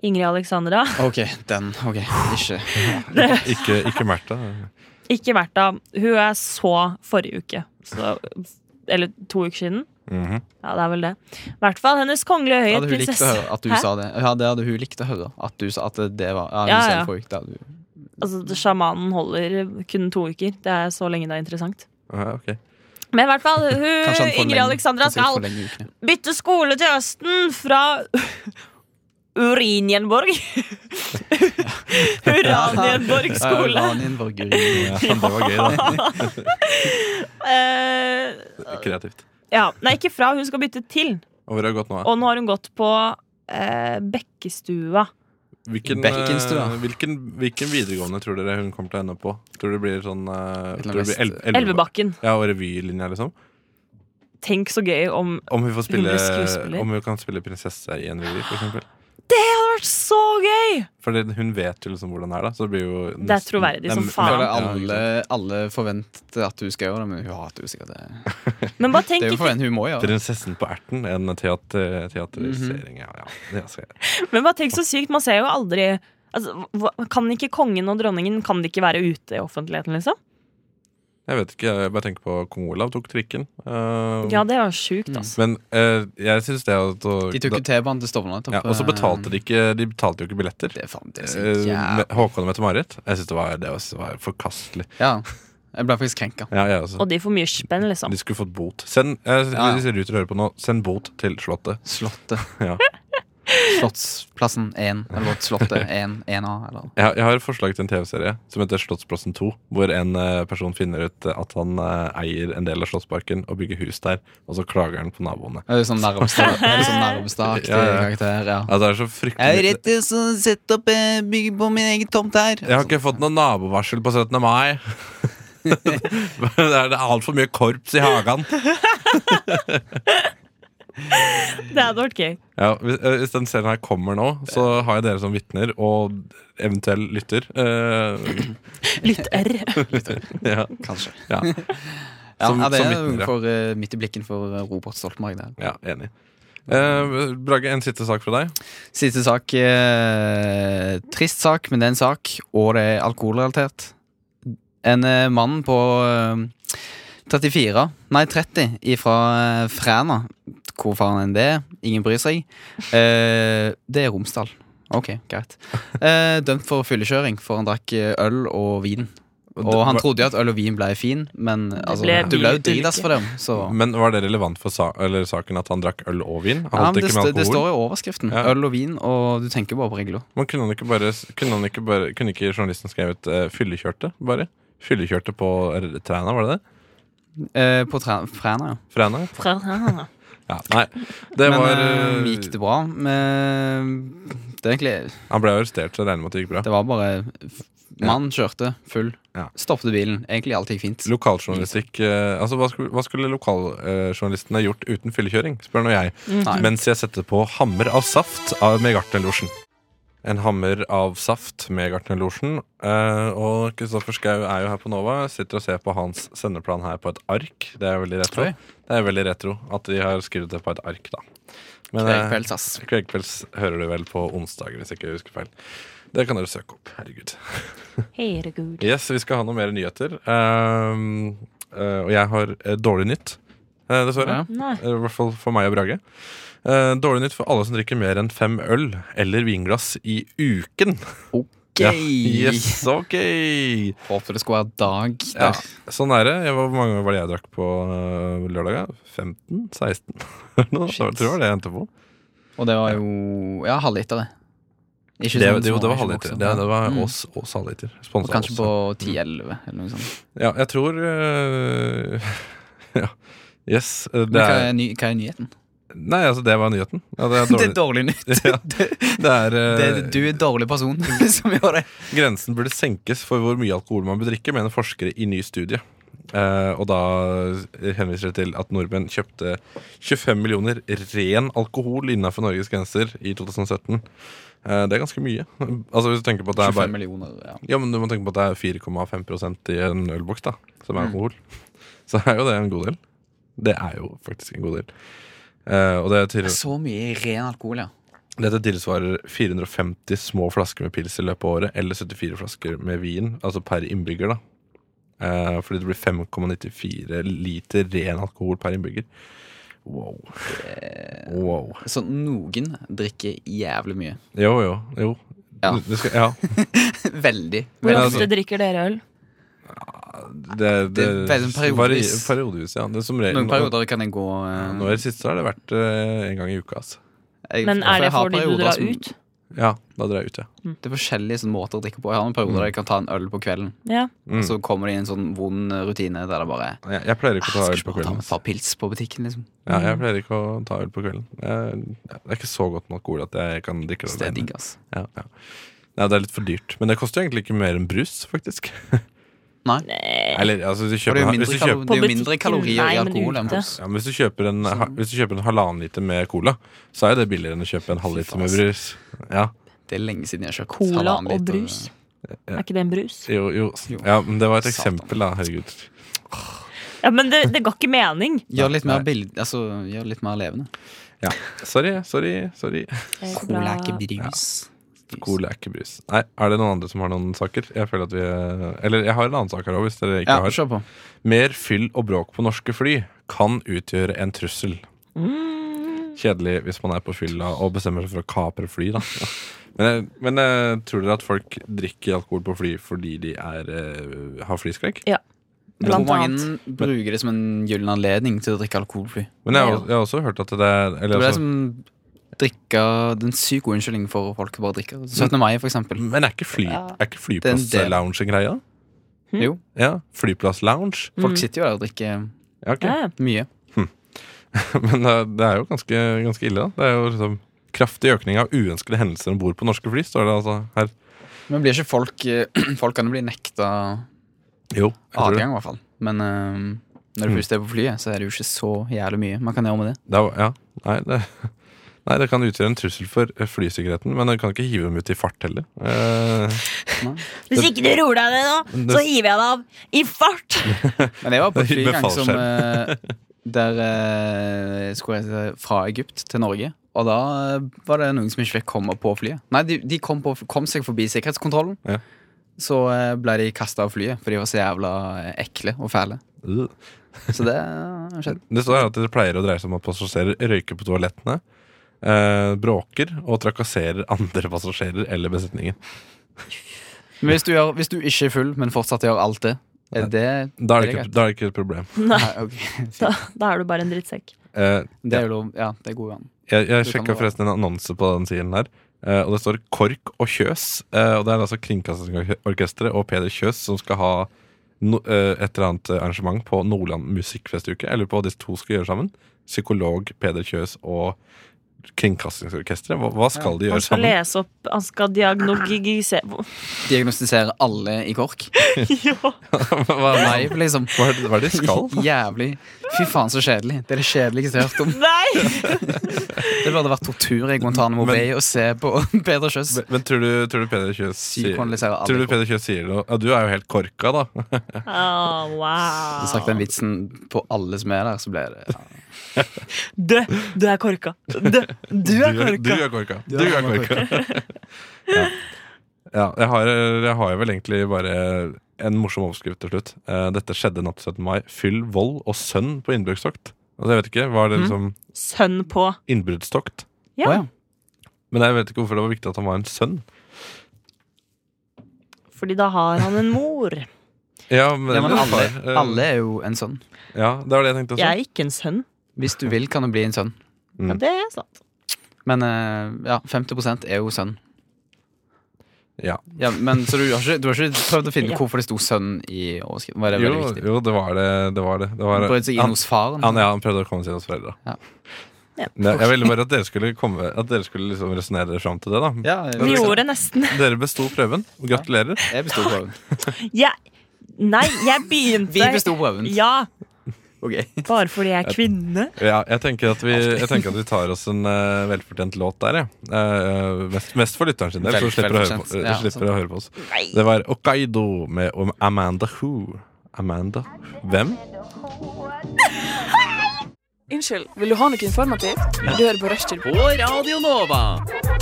Ingrid Alexandra. Ok, den. Ok, ikke Ikke, ikke Märtha. Ikke Märtha. Hun er så forrige uke. Så, eller to uker siden. Mhm. Ja, det er vel det. I hvert fall Hennes kongelige høyhet, Hadde hun likt å prinsesse høre at du Hæ? sa det? Ja, det hadde hun likt å høre. At du sa at det var Ja, Ja, hun sa ja. det forrige uke, det hadde hun- Altså, Sjamanen holder kun to uker. Det er så lenge det er interessant. Ja, ok. Men i hvert (laughs) fall, Kanskje hun, han forlenger- Ingrid Alexandra kanskje hun skal forlenger ukene. bytte skole til høsten fra (laughs) (laughs) Urinjenborg. Uranienborg skole. Ja, Uranienborg, Uranienborg. Ja, det var gøy, da. Eh, (laughs) Kreativt. ja. Nei, ikke fra. Hun skal bytte til. Og hvor har det gått nå? da? Og nå har hun gått på eh, Bekkestua. Hvilken, Bekkenstua. eh, hvilken, hvilken videregående tror dere hun kommer til å ende opp på? Tror du det blir sånn eh, Et eller tror det blir el annet elveba- Elvebakken. Ja, og revylinja, liksom? Tenk så gøy om Om hun, får Hun spille, blir skuespiller. om hun kan spille prinsesse i en revy, for eksempel. Det hadde vært så gøy! For det- hun vet jo liksom hvordan det er, da. Så det blir jo Det er troverdig som men- Jeg faen. føler Ja, ikke sant. alle, alle forventer at hun skal gjøre det, men hun hater jo sikkert det. Men bare Det tenk, er jo forvent hun må gjøre. det. Prinsessen på erten, en teater, teaterisering. Ja, ja. Det skal jeg. men bare tenk så sykt. Man ser jo aldri altså, hva- Kan ikke kongen og dronningen Kan de ikke være ute i offentligheten, liksom? jeg vet ikke, jeg bare tenker på kong Olav tok trikken. eh, Ja, det var Mm. sjukt, altså. Men eh, jeg syns det at De tok jo T-banen til Stovner. ja, Og så betalte de ikke De betalte jo ikke billetter. Det er faen, det er så Eh, jævlig. med- Håkon og Mette-Marit. Jeg syns det, var- det var- var forkastelig. Ja. Jeg ble faktisk krenka. Ja, jeg også. Og de får mye spenn, liksom. De skulle fått bot. Send, eh, Ja, ja. Hvis Ruter hører på nå, send bot til Slottet. Slottet. Ja. Slottsplassen 1, eller (laughs) Slottet 1, 1A, eller Jeg har, jeg har et forslag til en TV-serie som heter Slottsplassen 2. Hvor en eh, person finner ut at han eh, eier en del av Slottsparken og bygger hus der. Og så klager han på naboene. Er det sånn Narvestad- er det sånn (laughs) Narvestad-aktig Ja, ja. karakter? Ja. Altså, det er så fryktelig til å sette opp eh, bygge på min egen tomt her. Jeg har ikke fått noe nabovarsel på 17. mai. (laughs) det er det er altfor mye korps i hagen. Det hadde vært gøy. Ja, hvis, eh, hvis den serien her kommer nå, så har jeg dere som vitner og eventuell lytter. Eh, (laughs) Lytt R. ja, Kanskje. ja, Ja, Som- ja, det som er vitner, ja. for, eh, midt i blikken for eh, Robert Stoltenberg. Der. ja, enig. Eh, Brage, en siste sak fra deg. Siste sak. Eh, trist sak, men det er en sak, og det er alkoholrelatert. En eh, mann på eh, 34, nei 30, fra eh, Fræna. Hvor faen enn det er. Ingen bryr seg. Eh, det er Romsdal. Ok, greit. Eh, dømt for fyllekjøring, for han drakk eh, øl og vin. Og han trodde jo at øl og vin ble fin, men altså, ble du ble jo vinulykke. dritass for dem. Så. Men var det relevant for sa eller saken at han drakk øl og vin? Han Ja, men holdt det, ikke med st- det står alkohol. i overskriften. Ja. Øl og vin, og du tenker bare på regler. Men kunne, han ikke bare, kunne, han ikke bare, kunne ikke journalisten skrevet eh, 'fyllekjørte'? bare? Fyllekjørte på r- Træna, var det det? Eh, på Træ- Fræna, ja. Fræna? Fra, Ah. Ja, nei. Det Men var eh, eh, gikk det bra? Men, det, er egentlig, Han ble arrestert, så jeg regner med at det gikk bra. det var bare f- Mann kjørte full. Ja. Stoppet bilen. Egentlig alt gikk fint. Lokaljournalistikk eh, Altså, hva skulle, hva skulle lokaljournalistene gjort uten fyllekjøring? Spør nå jeg. Nei. Mens jeg setter på Hammer av saft av, med Gartnerlosjen. En hammer av saft med Gartnerlosjen. Eh, og Kristoffer Schau er jo her på Nova. Sitter og ser på hans sendeplan her på et ark. Det er veldig retro. Oi. Det er veldig retro at de har skrevet det på et ark, da. Men, eh, Kvegpels, ass. Kvegpels hører du vel på onsdager, hvis jeg ikke husker feil. Det kan dere søke opp. Herregud. Herregud. Yes, vi skal ha noen mer nyheter. Ehm, eh, og jeg har eh, dårlig nytt, eh, dessverre. Ja. Nei. Eh, I hvert fall for meg og Brage. Eh, dårlig nytt for alle som drikker mer enn fem øl eller vinglass i uken. Ok. Ja, yes, ok Håpte det skulle være dag ja, der. Sånn er det. Jeg, hvor mange var det jeg drakk på eh, lørdag? ja? 15? (laughs) 16? Nå, tror Shit. jeg var det jeg endte på. Og det var jo Ja, halvliter, det. Ikke Det, sånn det, små, det var ikke halvliter. bokser. Det, det var sånn Mm. Ås Ås halvliter. Og Sponsa kanskje Ås. på 10-11 eller noe sånt. Ja, jeg tror eh, (laughs) Ja. Yes. eh, Men Det hva er, er, ny, hva er nyheten? Nei, altså, det var nyheten. Ja, (laughs) det er (laughs) dårlig. dårlig nytt. (laughs) Ja, det er, Det, eh, du er en dårlig person (laughs) som gjør det. Grensen burde senkes for hvor mye alkohol man bør drikke, mener forskere i ny studie. Eh, og da henviser det til at nordmenn kjøpte 25 millioner ren alkohol innafor Norges grenser i 2017. Eh, det er ganske mye. Altså hvis du tenker på at det er 25 bare millioner, ja. ja, men du må tenke på at det er 4,5 i en ølboks da som er alkohol. (laughs) Så er jo det en god del. Det er jo faktisk en god del. Eh, og det er til, Så mye ren alkohol, ja. Dette tilsvarer 450 små flasker med pils i løpet av året, eller 74 flasker med vin, altså per innbygger, da. Eh, fordi det blir 5,94 liter ren alkohol per innbygger. Wow. Eh. Wow. Så noen drikker jævlig mye. (laughs) Jo, jo, jo. Ja. Det, skal, ja. Veldig. Hvor Men ofte altså- drikker dere øl? Det, Det er vel en periodevis. vari- Periodevis, ja. Det er som regel, Noen perioder kan jeg gå Nå, eh, nå i det siste har det vært eh, en gang i uka, altså. jeg, Men for er det jeg har fordi du perioder drar som- ut? Ja, da drar jeg ut, ja. Det er forskjellige sånne måter å drikke på. Jeg har noen perioder der jeg kan ta en øl på kvelden, Ja. Mm. og så kommer det i en sånn vond rutine der det bare er, Jeg, jeg pleier ikke å «Ah, ta Skal øl ikke på bare ta kvelden. altså. med et par pils på butikken, liksom. Ja, jeg pleier ikke å ta øl på kvelden. Eh, det er ikke så godt med alkohol at jeg kan drikke det Så det er alene. digg, altså. ass. Ja, ja. Nei, det er litt for dyrt. Men det koster jo egentlig ikke mer enn brus, faktisk. Nei. Eller, altså, hvis du For kjøper, det er jo hvis mindre, du kalo kjøper, På det er jo mindre butikken, kalorier nei, i men alkohol enn ute. brus. ja, men hvis du kjøper en, ha- Sånn. hvis du kjøper en halvannen liter med cola, så er jo det billigere enn å kjøpe en halvliter med brus. Ja, Det er lenge siden jeg har kjøpt Cola halvannen og liter. brus. Er ikke det en brus? jo, jo. Jo. ja men det var et Satan. eksempel, da. Herregud. Ja, Men det, det ga ikke mening. Gjør litt mer Nei. bild, altså, gjør litt mer levende. Ja. Sorry, sorry, sorry. Cola er ikke brus. Cola er ikke brus. Nei, Er det noen andre som har noen saker? Jeg føler at vi Eller jeg har en annen sak her òg, hvis dere ikke Ja, har. kjør på. Mer fyll og bråk på norske fly kan utgjøre en trussel. Kjedelig hvis man er på fylla og bestemmer seg for å kapre fly, da. (laughs) Men, jeg- men jeg tror dere at folk drikker alkohol på fly fordi de er, eh, har flyskrekk? Jeg tror Blant annet. mange bruker det som en gyllen anledning til å drikke alkoholfly. Men jeg, har- jeg har også hørt at det er Det eller, var det altså, som drikke Det er en sykt god unnskyldning for folk å bare drikke. Mm. 17. mai, for eksempel. Men er ikke, fly, er ikke del. flyplass-lounge en greie? Jo, Ja, flyplass-lounge. folk sitter jo der og drikker Ja, ok. Ja. mye. (laughs) Men det er, det er jo ganske, ganske ille, da. Det er jo liksom kraftig økning av uønskede hendelser om bord på norske fly, står det altså her. Men blir ikke folk eh, (clears throat) Folk kan jo bli nekta Jo, jeg tror det. Mm. adgang, i hvert fall. Men eh, når du først er på flyet, så er det jo ikke så jævlig mye man kan gjøre med det. det er, ja. Nei, det (laughs) Nei, det kan utgjøre en trussel for eh, flysikkerheten, men det kan ikke hive dem ut i fart heller. Eh, Hvis ikke du roer deg ned nå, Det- så hiver jeg deg av i fart! Men jeg var (laughs) på et fly en gang som Med eh, Der eh, skulle jeg til- fra Egypt til Norge. Og da eh, var det noen som ikke fikk komme på flyet. Nei, de, de kom, på, kom seg forbi sikkerhetskontrollen. Ja. Så eh, ble de kasta av flyet, for de var så jævla eh, ekle og fæle. øh. Så det eh, har (laughs) skjedd. Det står her at det pleier å dreie seg om at passasjerer røyker på toalettene, eh, bråker og trakasserer (laughs) andre passasjerer eller besetningen. Men hvis du, gjør, hvis du ikke er full, men fortsatt gjør alt det, er det Da er det ikke, greit? da er det ikke et problem. Nei, ok. Da, da er du bare en drittsekk. Eh, Det er jo lov. Ja, det er god gang. Jeg, jeg Det kan sjekka det være. forresten en annonse på den siden her. eh, Og det står KORK og Kjøs. eh, Og det er altså Kringkastingsorkesteret og Peder Kjøs som skal ha no, eh, et eller annet arrangement på Nordland musikkfestuke. Jeg lurer på hva de to skal gjøre sammen. Psykolog Peder Kjøs og Kringkastingsorkesteret. Hva, hva skal de Han gjøre skal sammen? lese opp Han skal diagnogisere Diagnostisere alle i KORK? Ja. (laughs) hva, Nei, liksom. hva, er det, hva er det de skal? (laughs) Jævlig. Fy faen, så kjedelig. Det er det kjedeligste jeg har hørt om. Nei! Det burde vært tortur i Guantánamo Men- Bay å se på (laughs) Peder Kjøs. Men, men tror du, tror du Peder Kjøs sier, Psykoanalyserer alle tror du KORK. Peder Kjøs sier noe? Ja, du er jo helt korka, da. Å, Jeg har sagt wow. den vitsen på alle som er der, så ble det ja. Du, du er korka. Du, du er Du er- Du korka. er korka. Du er korka. (laughs) ja. ja jeg, har, jeg har vel egentlig bare en morsom overskrift til slutt. Eh, dette skjedde natt til 17. mai. Fyll, vold og sønn på innbruddstokt. Altså, jeg vet ikke, Var det liksom Sønn på. innbruddstokt? Ja. Å, ja. Men jeg vet ikke hvorfor det var viktig at han var en sønn. Fordi da har han en mor. Ja, men, ja, men eller alle, far. Eh, alle er jo en sønn. Ja, det var det jeg tenkte også. Jeg er ikke en sønn. Hvis du vil, kan du bli en sønn. Ja, det er sant. Men eh, ja, 50 er jo sønn. Ja. Ja, men, så du har, ikke, du har ikke prøvd å finne Ja. hvorfor det sto 'sønn' i overskriften? Var det Jo, veldig viktig? jo, det var det. det, var det. det var, Han brøt seg inn han, hos faren? han, ja, han prøvde å komme seg inn hos foreldra. Ja. Ja. Men Jeg ville bare at dere skulle, komme- at dere skulle liksom resonnere dere fram til det. da ja, liksom- Vi gjorde nesten. Dere besto prøven. Gratulerer. Jeg besto (laughs) prøven. Jeg, nei, jeg begynte Vi besto prøven. Ja, Ok. (laughs) bare fordi jeg er kvinne. Ja, jeg, tenker at vi, jeg tenker at vi tar oss en eh, velfortjent låt der, jeg. Eh, mest, mest for lytteren sin del, så Vel- slipper, å høre, på, eh, velfortjent, ja, altså. slipper å høre på oss. Nei. Det var Okaido med om Amanda Who. Amanda Hvem? Unnskyld, vil du ha noe informativt? Du hører på Rushtid.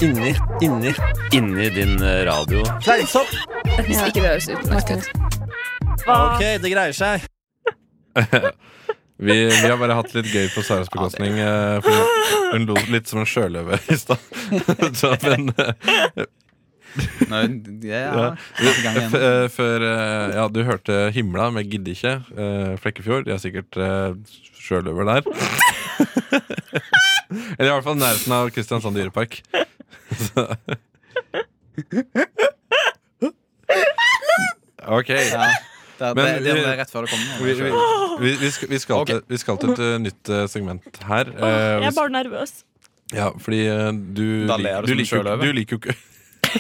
Inni, inni, inni din eh, radio. Fleinsopp! Hvis ikke det høres utmerket ut. Ok, det greier seg. Vi, vi har bare hatt litt gøy på Saras bekostning. eh, for hun lo litt som en sjøløve i stad. (laughs) Så, men, eh, Nå, ja, Ja. i gang F- (laughs) igjen. eh, Før eh, Ja, du hørte Himla med Gidde ikke. eh, Flekkefjord. De er sikkert eh, sjøløver (laughs) der. Eller i hvert fall i nærheten av Kristiansand dyrepark. (laughs) Så- Ok. Ja. Det, Men det, det, vi- det er rett før det kommer. Vi, vi, vi, vi, skal, vi, skal til, vi skal til et eh, nytt eh, segment her. eh, Jeg vi er bare nervøs. sk- ja, fordi eh, du, Da lik- ler du du som en liker jo sjøløve. du liker jo ikke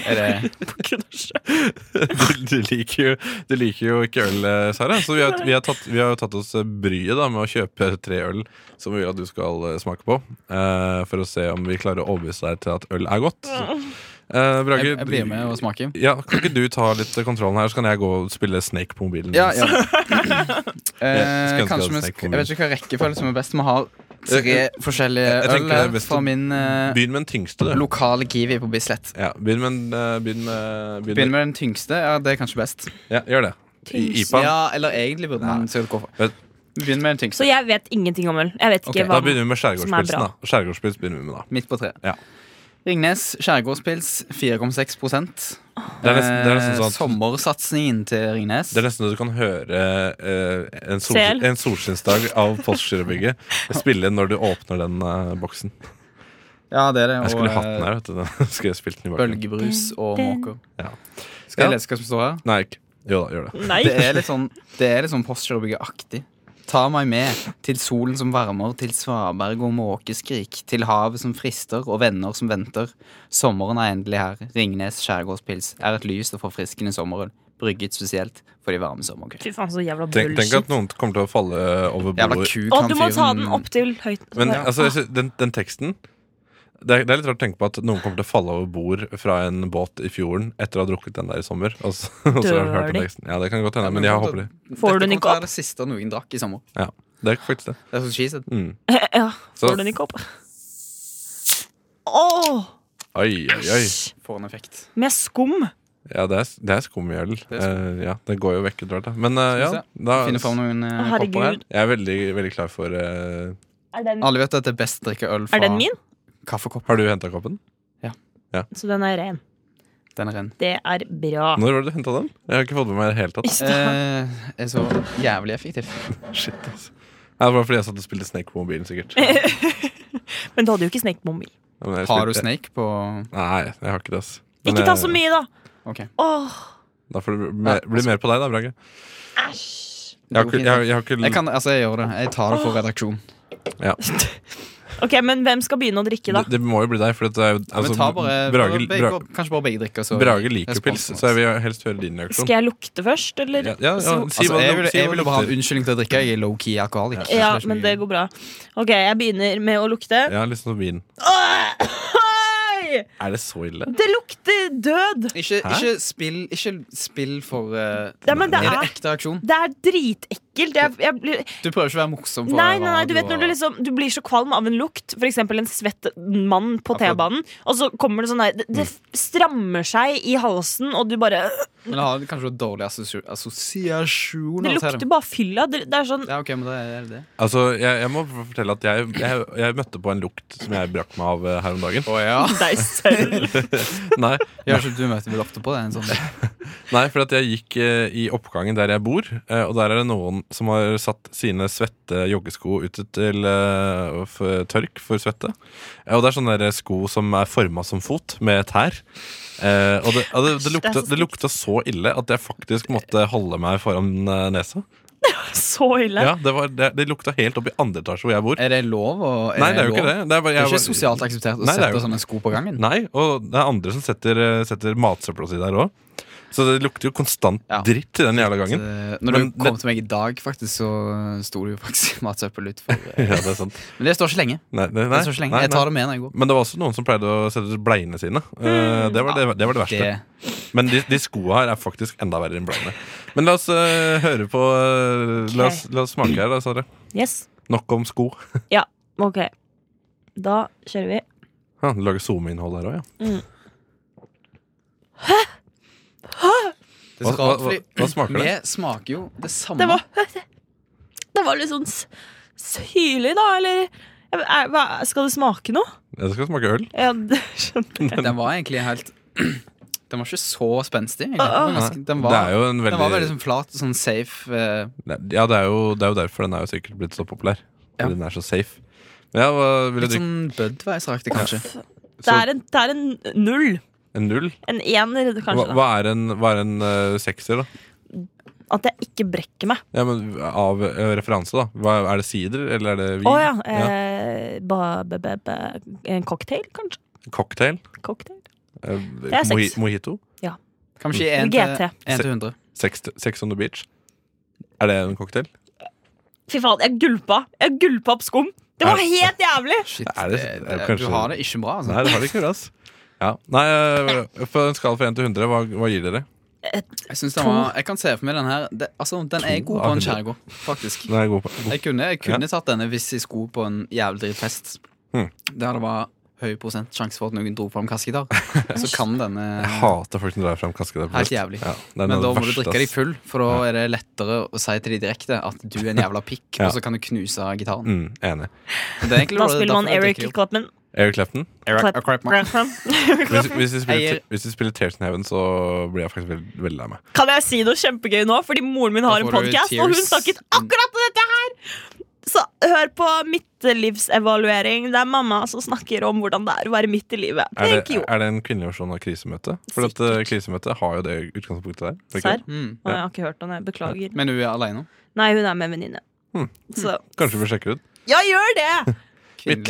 Er det, (laughs) du, du, liker jo, du liker jo ikke øl, eh, Sara. Så vi har, vi har, tatt, vi har jo tatt oss eh, bryet da, med å kjøpe tre øl som vi vil at du skal eh, smake på. eh, for å se om vi klarer å overbevise deg til at øl er godt. Eh, Brage, jeg, jeg blir med og smaker. ja, kan ikke du ta litt eh, kontrollen her, så kan jeg gå og spille Snake på mobilen? Ja, ja. (laughs) jeg skulle ønske jeg Eh, hadde kanskje vi snakket skal, om Jeg vet ikke hva rekkefølge som er best. Vi har tre forskjellige jeg tenker øl det er her best fra å min eh, (laughs) Begynn med den tyngste, du. lokale Kiwi på Bislett. Ja, begynn med, en, eh, begynn med, begynn Begynner med, med den tyngste. Ja, det er kanskje best. ja, Gjør det. I, IPA. Ja, eller egentlig burde man sikkert gå for Vet- Begynn med den Så tyngste. jeg vet ingenting om øl. Jeg vet ikke Ok, hva Da begynner vi med skjærgårdspilsen. bra. da. Skjærgårdspils begynner vi med da Midt på treet. Ja. Ringnes skjærgårdspils 4,6 Det er nesten- det er nesten Eh, sånn at- Sommersatsingen til Ringnes. Det er nesten så du kan høre eh, en, sol, Sel. en solskinnsdag av Postgirobygget spille når du åpner den eh, boksen. Ja, det er det. Jeg skulle hatt den eh, her. vet du (laughs) den Skulle jeg spilt den i bakgrunnen. Bølgebrus og måker. Ja. Skal Ja. jeg lese hva som står her? Nei, ikke. Jo da, gjør det. Nei. Det er litt sånn, det er litt sånn Postgirobygget-aktig. Ta meg med til solen som varmer, til svaberg og måkeskrik, til havet som frister og venner som venter. Sommeren er endelig her. Ringnes skjærgårdspils er et lyst og forfriskende sommerøl, brygget spesielt for de varme sommerkveldene. Fy faen, så jævla Tenk, tenk bullshit. at noen kommer til å falle eh, over Jævla bordet. kuk, Å, han du må ta den fyren. opp til høyt. Men Ja. altså, jeg sy- den, den teksten det er, det er litt rart å tenke på at noen kommer til å falle over bord fra en båt i fjorden etter å ha drukket den der i sommer. Og så, (laughs) og så har de hørt Dør de? den teksten. Ja, det kan godt hende, men jeg håper de Får du den Dette ikke kommer til å opp? være det siste noen drakk i sommer. Ja, det er faktisk det. Det er så cheesy. Mm. (laughs) ja, Så- får du den ikke opp? Åh, Oi, oi, oi. æsj! Får en effekt. Med skum. Ja, det er, det er skumjøl. er skum. Eh, ja, det går jo vekk etter hvert, da. Men eh, ja, Synes jeg. da Finner fram noen eh, Å, herregud. kopper her. Jeg er veldig, veldig klar for eh, Er den, Alle vet at det er best å drikke øl fra er den min? kaffekopp. Har du henta koppen? Så den er ren. (laughs) Den er ren. Det er bra. (laughs) Når var det du henta den? Jeg har ikke fått med meg i det hele tatt. Eh, er så jævlig effektiv. Shit, altså. Nei, det var fordi jeg satt og spilte Snake på mobilen, (laughs) sikkert. Men du hadde jo ikke Snake Mommy. Ja, men jeg Har du spilte- Snake på Nei, jeg har ikke det. ass. Men Ikke ta jeg- så mye, da! Ok. Åh, Da får det bli mer, bli mer på deg, da, Brage. Jeg har ikke, jeg, har- jeg har ikke Jeg kan, altså jeg gjør det. Jeg tar det for redaksjon. Ok, men hvem skal begynne å drikke, da? det, det må jo bli deg, for det er jo Ja, altså, men ta bare, Brage, bare, Bra- begge, kanskje bare begge drikker. Så Brage liker respons pils, på oss. så jeg vil helst høre din reaksjon. Skal jeg lukte først, eller? Ja, ja, ja, Så- si altså, hva jeg du- ville si hva jeg du ville bare ha en lukter. unnskyldning til å drikke. Jeg er low-key alkoholiker. Ja, men det går bra. Ok, jeg begynner med å lukte. Ja, litt sånn som vin. Oi! Er det så ille? Det lukter død! Ikke, Hæ? ikke, spill, ikke spill for eh, Ja, men det Er det er- ekte reaksjon? Det er dritekkelt. Jeg, jeg blir Du prøver ikke å være morsom. For Nei, nei, nei, radio du vet når du og- liksom Du blir så kvalm av en lukt, for eksempel en svett mann på Ja, for- T-banen, og så kommer det sånn der det, det Mm. strammer seg i halsen, og du bare Men det har kanskje dårlige assosi- assosiasjoner. Det til lukter bare fylla. Det, det er sånn Ja, ok, men det er det. Altså, jeg, jeg må fortelle at jeg, jeg, jeg møtte på en lukt som jeg brakk meg av eh, her om dagen. Å ja. (laughs) deg selv. (laughs) Nei, ja så du møter vel ofte på det? En sånn. nei for at jeg gikk eh, i oppgangen der jeg bor, eh, og der er det noen som har satt sine svette joggesko ute til eh, f- tørk for svette. Eh, Og det er sånne der sko som er forma som fot, med tær. Eh, og det, ja, det, det, lukta, det lukta så ille at jeg faktisk måtte holde meg foran eh, nesa. Så ille. Ja, det, var, det, det lukta helt opp i andre etasje hvor jeg bor. Er det lov? å er Nei, det er jo lov? ikke det. Det er, bare, Eh, Det er jeg ikke var- sosialt akseptert å Nei, det er sette jo- sånne sko på gangen. Nei, og det er andre som setter, eh, setter matsøppel og si der òg. Så det lukter jo konstant Ja. dritt i den jævla gangen. Eh, Når Men du kom det- til meg i dag, faktisk, så eh, sto det jo faktisk (laughs) matsøppel ut. For, (laughs) eh, Ja, det er sant. men det står ikke lenge. Nei, nei, Det nei, står ikke lenge. nei, Jeg nei. tar det med når jeg går. Men det var også noen som pleide å sette ut bleiene sine. Eh, det, var det, det var det verste. Hmm, Det, Men de, de skoa her er faktisk enda verre enn bleiene. Men la oss eh, høre på eh, la, oss, la oss smake her, da, Sara. Yes. Nok om sko. Ok. Da kjører vi. Ja, du lager SoMe-innhold her òg, ja. det er Hva- så rart, hva- hva- fordi hva smaker det? vi smaker jo det samme. Det var, det var litt sånn s- syrlig, da, eller Jeg- er, hva, Skal det smake noe? Det skal smake øl. Ja, (laughs) det skjønner jeg. Den var egentlig helt (clears throat) Den var ikke så spenstig. egentlig. Den Ah, var, ah. ganske, den det var, er jo en den var veldig veldig sånn flat, sånn safe. eh, Ja, det er jo, det er jo derfor den er jo sikkert blitt så populær. Ja. Fordi den er så safe. Men ja, hva vil du Litt drikke? sånn Budweiser-aktig, kanskje. Det er en, det er en null. sånn- En null? En ener, Hva, kanskje. da. hva er en, hva er en eh, sekser, da? At jeg ikke brekker meg. Ja, men Av eh, referanse, da. Hva, er det sider, eller er det vin? Å ja. Eh, ba, ba, ba, ba, en cocktail, kanskje? Cocktail? Cocktail. Eh, er seks. moji- Mojito? Kan vi si 1 til, GT. en til 100? Sex, sex on the beach? Er det en cocktail? Fy faen, jeg gulpa! Jeg gulpa opp skum! Det var Er- helt jævlig! Shit, Er det, det- er det du kanskje- har det ikke bra, altså. Nei, det har de ikke, ass. Ja. Nei, eh, på en skala fra 1 til 100, hva, hva gir dere? Jeg, synes den var, jeg kan se for meg den her. Det, altså, den er god på av en hundre. skjærgård, faktisk. Den er god på. god. Jeg kunne, jeg kunne tatt denne hvis jeg skulle på en jævlig dritfest. Hmm. Der det var høy prosent sjanse for at noen dro fram (laughs) kassegitar. Så kan denne Jeg hater folk som drar fram kaske der. på Helt fest. jævlig. Ja, det er noe Men av da det må du verste, drikke deg ass. full, for da er det lettere å si til de direkte at du er en jævla pikk, Ja. og så kan du knuse gitaren. Mm, enig. Det er egentlig Da bare spiller man derfor jeg Eric drikker det opp. Clapman. Eric Clapton. Clap- Clapman. Hvis, (laughs) hvis, vi spiller, Jeg- te- hvis vi spiller Tears in Heaven, så blir jeg faktisk veldig, veldig lei meg. Kan jeg si noe kjempegøy nå? Fordi moren min har Da en får du podkast, og hun tears. snakket akkurat om dette her! Så hør på midtlivsevaluering. Det er mamma som snakker om hvordan det er å være midt i livet. Er Thank det, you. er det en kvinnelig versjon av krisemøte? For at eh, krisemøte har jo det utgangspunktet der. er det ikke? Serr? Mm. Å, Jeg har ikke hørt om det. Beklager. Men hun er aleine. Nei, hun er med en venninne. Hmm. Så Kanskje vi bør sjekke ut. ja, gjør det! Midt,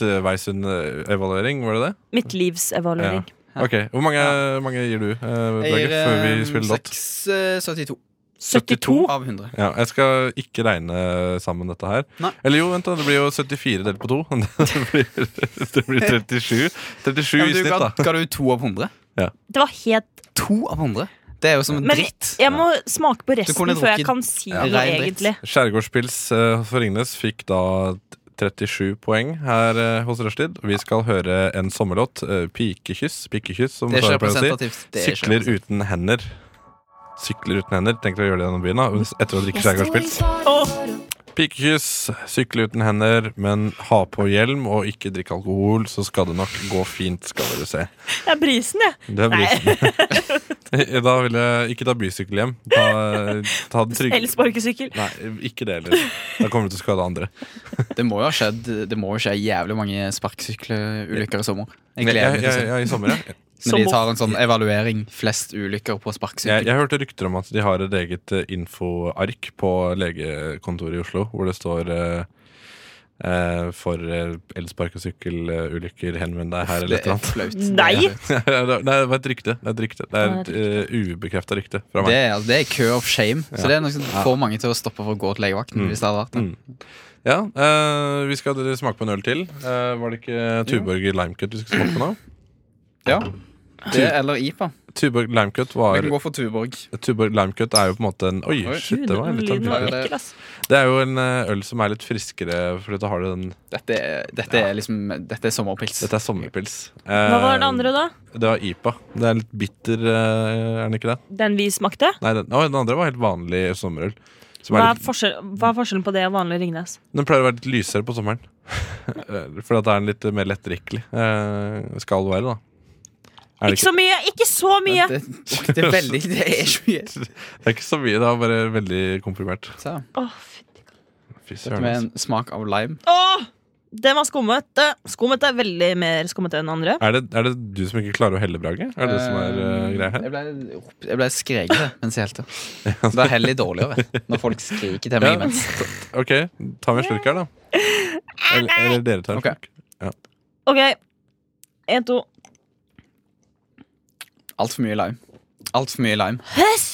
eh, Midtveisund-evaluering, var det det? Midtlivsevaluering. Ok, Hvor mange, mange gir du, eh, Børge, før vi eh, spiller låt? 672 72? eh, av 100. Ja, jeg skal ikke regne sammen dette her. Nei. Eller jo, vent da, det blir jo 74 delt på to. (laughs) Det blir, det (laughs) blir 37 37 i Ja, men du snitt, ga, da. ga du to av 100? Det var helt To av 100? Det er jo som en Men- dritt. Jeg må smake på kunne resten før jeg drukket kan si Ja. noe, rein dritt. egentlig. Skjærgårdspils eh, for Ringnes fikk da 37 poeng her eh, hos Rushtid. Vi skal høre en sommerlåt. eh, Pikekyss, pikekyss, som Det er Sara ikke pleier å si. representativt. Det er ikke Sykler uten hender. Sykler uten hender. Tenk dere å gjøre det gjennom byen da etter å drikke skjærgårdspils. Pikekyss, sykle uten hender, men ha på hjelm og ikke drikke alkohol, så skal det nok gå fint, skal dere se. Det er brisen, jeg. Det blir (laughs) Da vil jeg ikke ta bysykkel hjem. Ta, ta (laughs) den trygge Eller sparkesykkel. Nei, ikke det heller. Da kommer du til å skade andre. Det må jo ha skjedd Det må jo skje jævlig mange sparkesykkelulykker i sommer. Jeg Jeg, gleder jeg, meg til å jeg, se. I sommer, (laughs) ja. Når de Sommer. tar en sånn evaluering. Flest ulykker på Jeg, sparkesykkel. jeg hørte rykter om at de har et eget eh, infoark på legekontoret i Oslo, hvor det står eh, eh, for eh, elspark- og sykkelulykker, henvend deg her, eller Det et er eller annet. (laughs) flaut. Nei! Nei, det var et rykte. Det er et, rykte. Det er et uh, ubekrefta rykte fra Det meg. er, altså, det er kø of shame. Så det er noe som får mange til å stoppe for å gå til legevakten. Mm. Hvis det hadde vært det. Ja, eh, Vi skal smake på en øl til. Eh, var det ikke Tuborg Limecut vi skulle smake på nå? Ja. Det eller IPA. Tuborg Limecut Vi var kan gå for Tuborg. Tuborg Limecut er jo på en måte en Oi, Oi. shit, det var litt av Lyden var en- det- ekkel, ass. Det er jo en eh, øl som er litt friskere, fordi da har du den Dette er, dette er liksom Dette er sommerpils. Dette er sommerpils. Eh, Hva var den andre, da? Det var IPA. Det er litt bitter, eh, er den ikke det? Den vi smakte? Nei, den, å, den andre var helt vanlig sommerøl. Som Hva er er, litt, forskjell, hva er forskjellen på det og vanlig Ringnes? den pleier å være litt lysere på sommeren. (laughs) For at det er en litt mer lettdrikkelig. Eh, skal det være, da. Er det, Ikke så mye! Ikke så mye! Det, det er veldig Det er så mye. det er ikke så mye, det er bare veldig komprimert. Så, Åh, fy- Fy dette søren. med en altså. smak av lime. Åh, den var skummete. Skummete er veldig mer skummete enn andre. Er det, er det du som ikke klarer å helle, Brage? Er det det som er uh, Eh, greia her? Jeg ble, rop- jeg ble skreket mens jeg (laughs) helte. Det er heller dårligere når folk skriker til meg Ja. imens. (laughs) Ok, ta med en slurk (laughs) her, da. Eller, eller dere tar en Ok. slurk. OK. En, to Altfor mye lime. Altfor mye lime. Høss!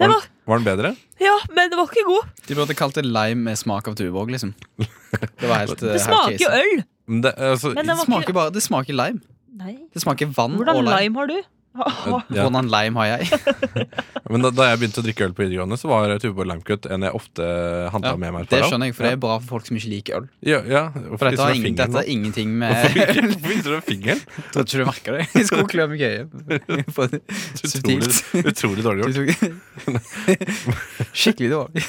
Var Det den, var var den bedre? Ja, men det var ikke god. De burde kalt det lime med smak av Tuborg, liksom. Det (laughs) var helt, eh, Det smaker jo øl. Men det, altså, Men den Det var ikke smaker, bare, det smaker lime. Nei. Det smaker vann Hvordan og lime. lime har du? Åh, ja. Hvordan lime har (laughs) jeg? Men da, da jeg begynte å drikke øl på videregående, så var Tuborg Limecut en jeg ofte handla Ja, med meg. det skjønner jeg, for det er bra for folk som ikke liker øl. ja, ja, For dette har, ingen, ingen, dette har ingenting (laughs) med Hvorfor hvorfor viser du fingeren? Jeg (laughs) tror ikke du merka det. Jeg skulle klø meg i (laughs) øyet. For- Utrolig, Subtilt. utrolig dårlig Du gjort. tok- (laughs) Skikkelig dårlig.